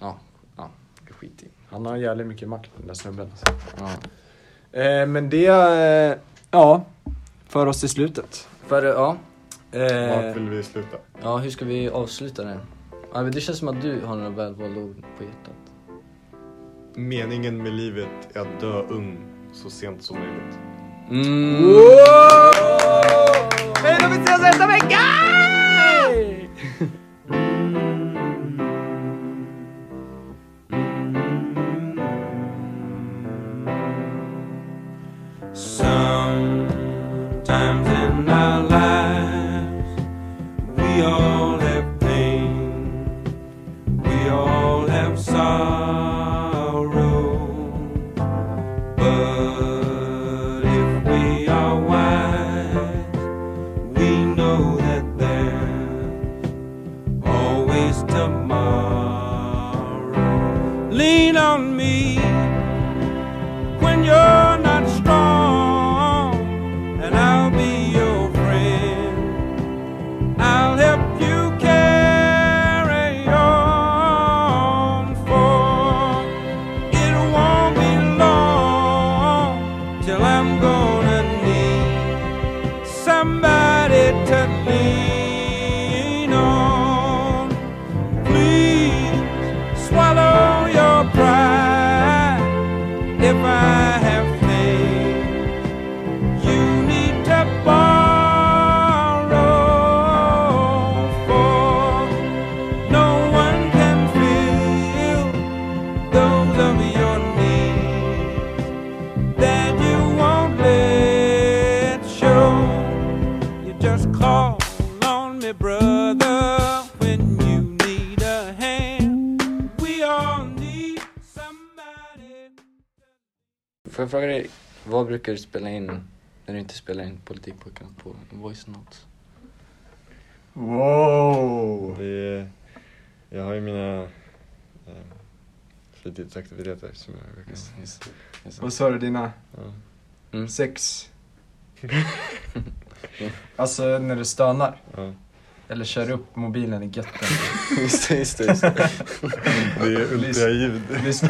ja, ja, skit i. Han har jävligt mycket makt den där snubben. Alltså. Ja. Eh, men det, eh, ja, för oss till slutet. För, eh, ja, Vart Eh, vill vi sluta? ja, hur ska vi avsluta det? Ja, men det känns som att du har några välvalda ord på hjärtat. Meningen med livet är att dö ung så sent som möjligt. Mm. Hej då, vi ses nästa vecka! Sometimes in our lives, we all have pain, we all have sorrow. But if we are wise, we know that there's always tomorrow. Lean on me when you're not strong, and I'll be your friend. I'll help you carry on, for it won't be long till I'm gonna need somebody to lean on. Please swallow your all of your needs that you won't let show. You just call on me, brother, when you need a hand. We all need somebody. Får jag fråga dig, vad brukar du spela in när du inte spelar in Politikpojkarna på voice notes? Wow! Det är, jag har ju mina eh, fritidsaktiviteter som jag brukar Just, just, just. Vad sa du, dina ja. Mm. sex? alltså när du stönar? Ja. Eller kör upp mobilen i götten? just det, just det, just det. Det är ultraljud. Lyssna.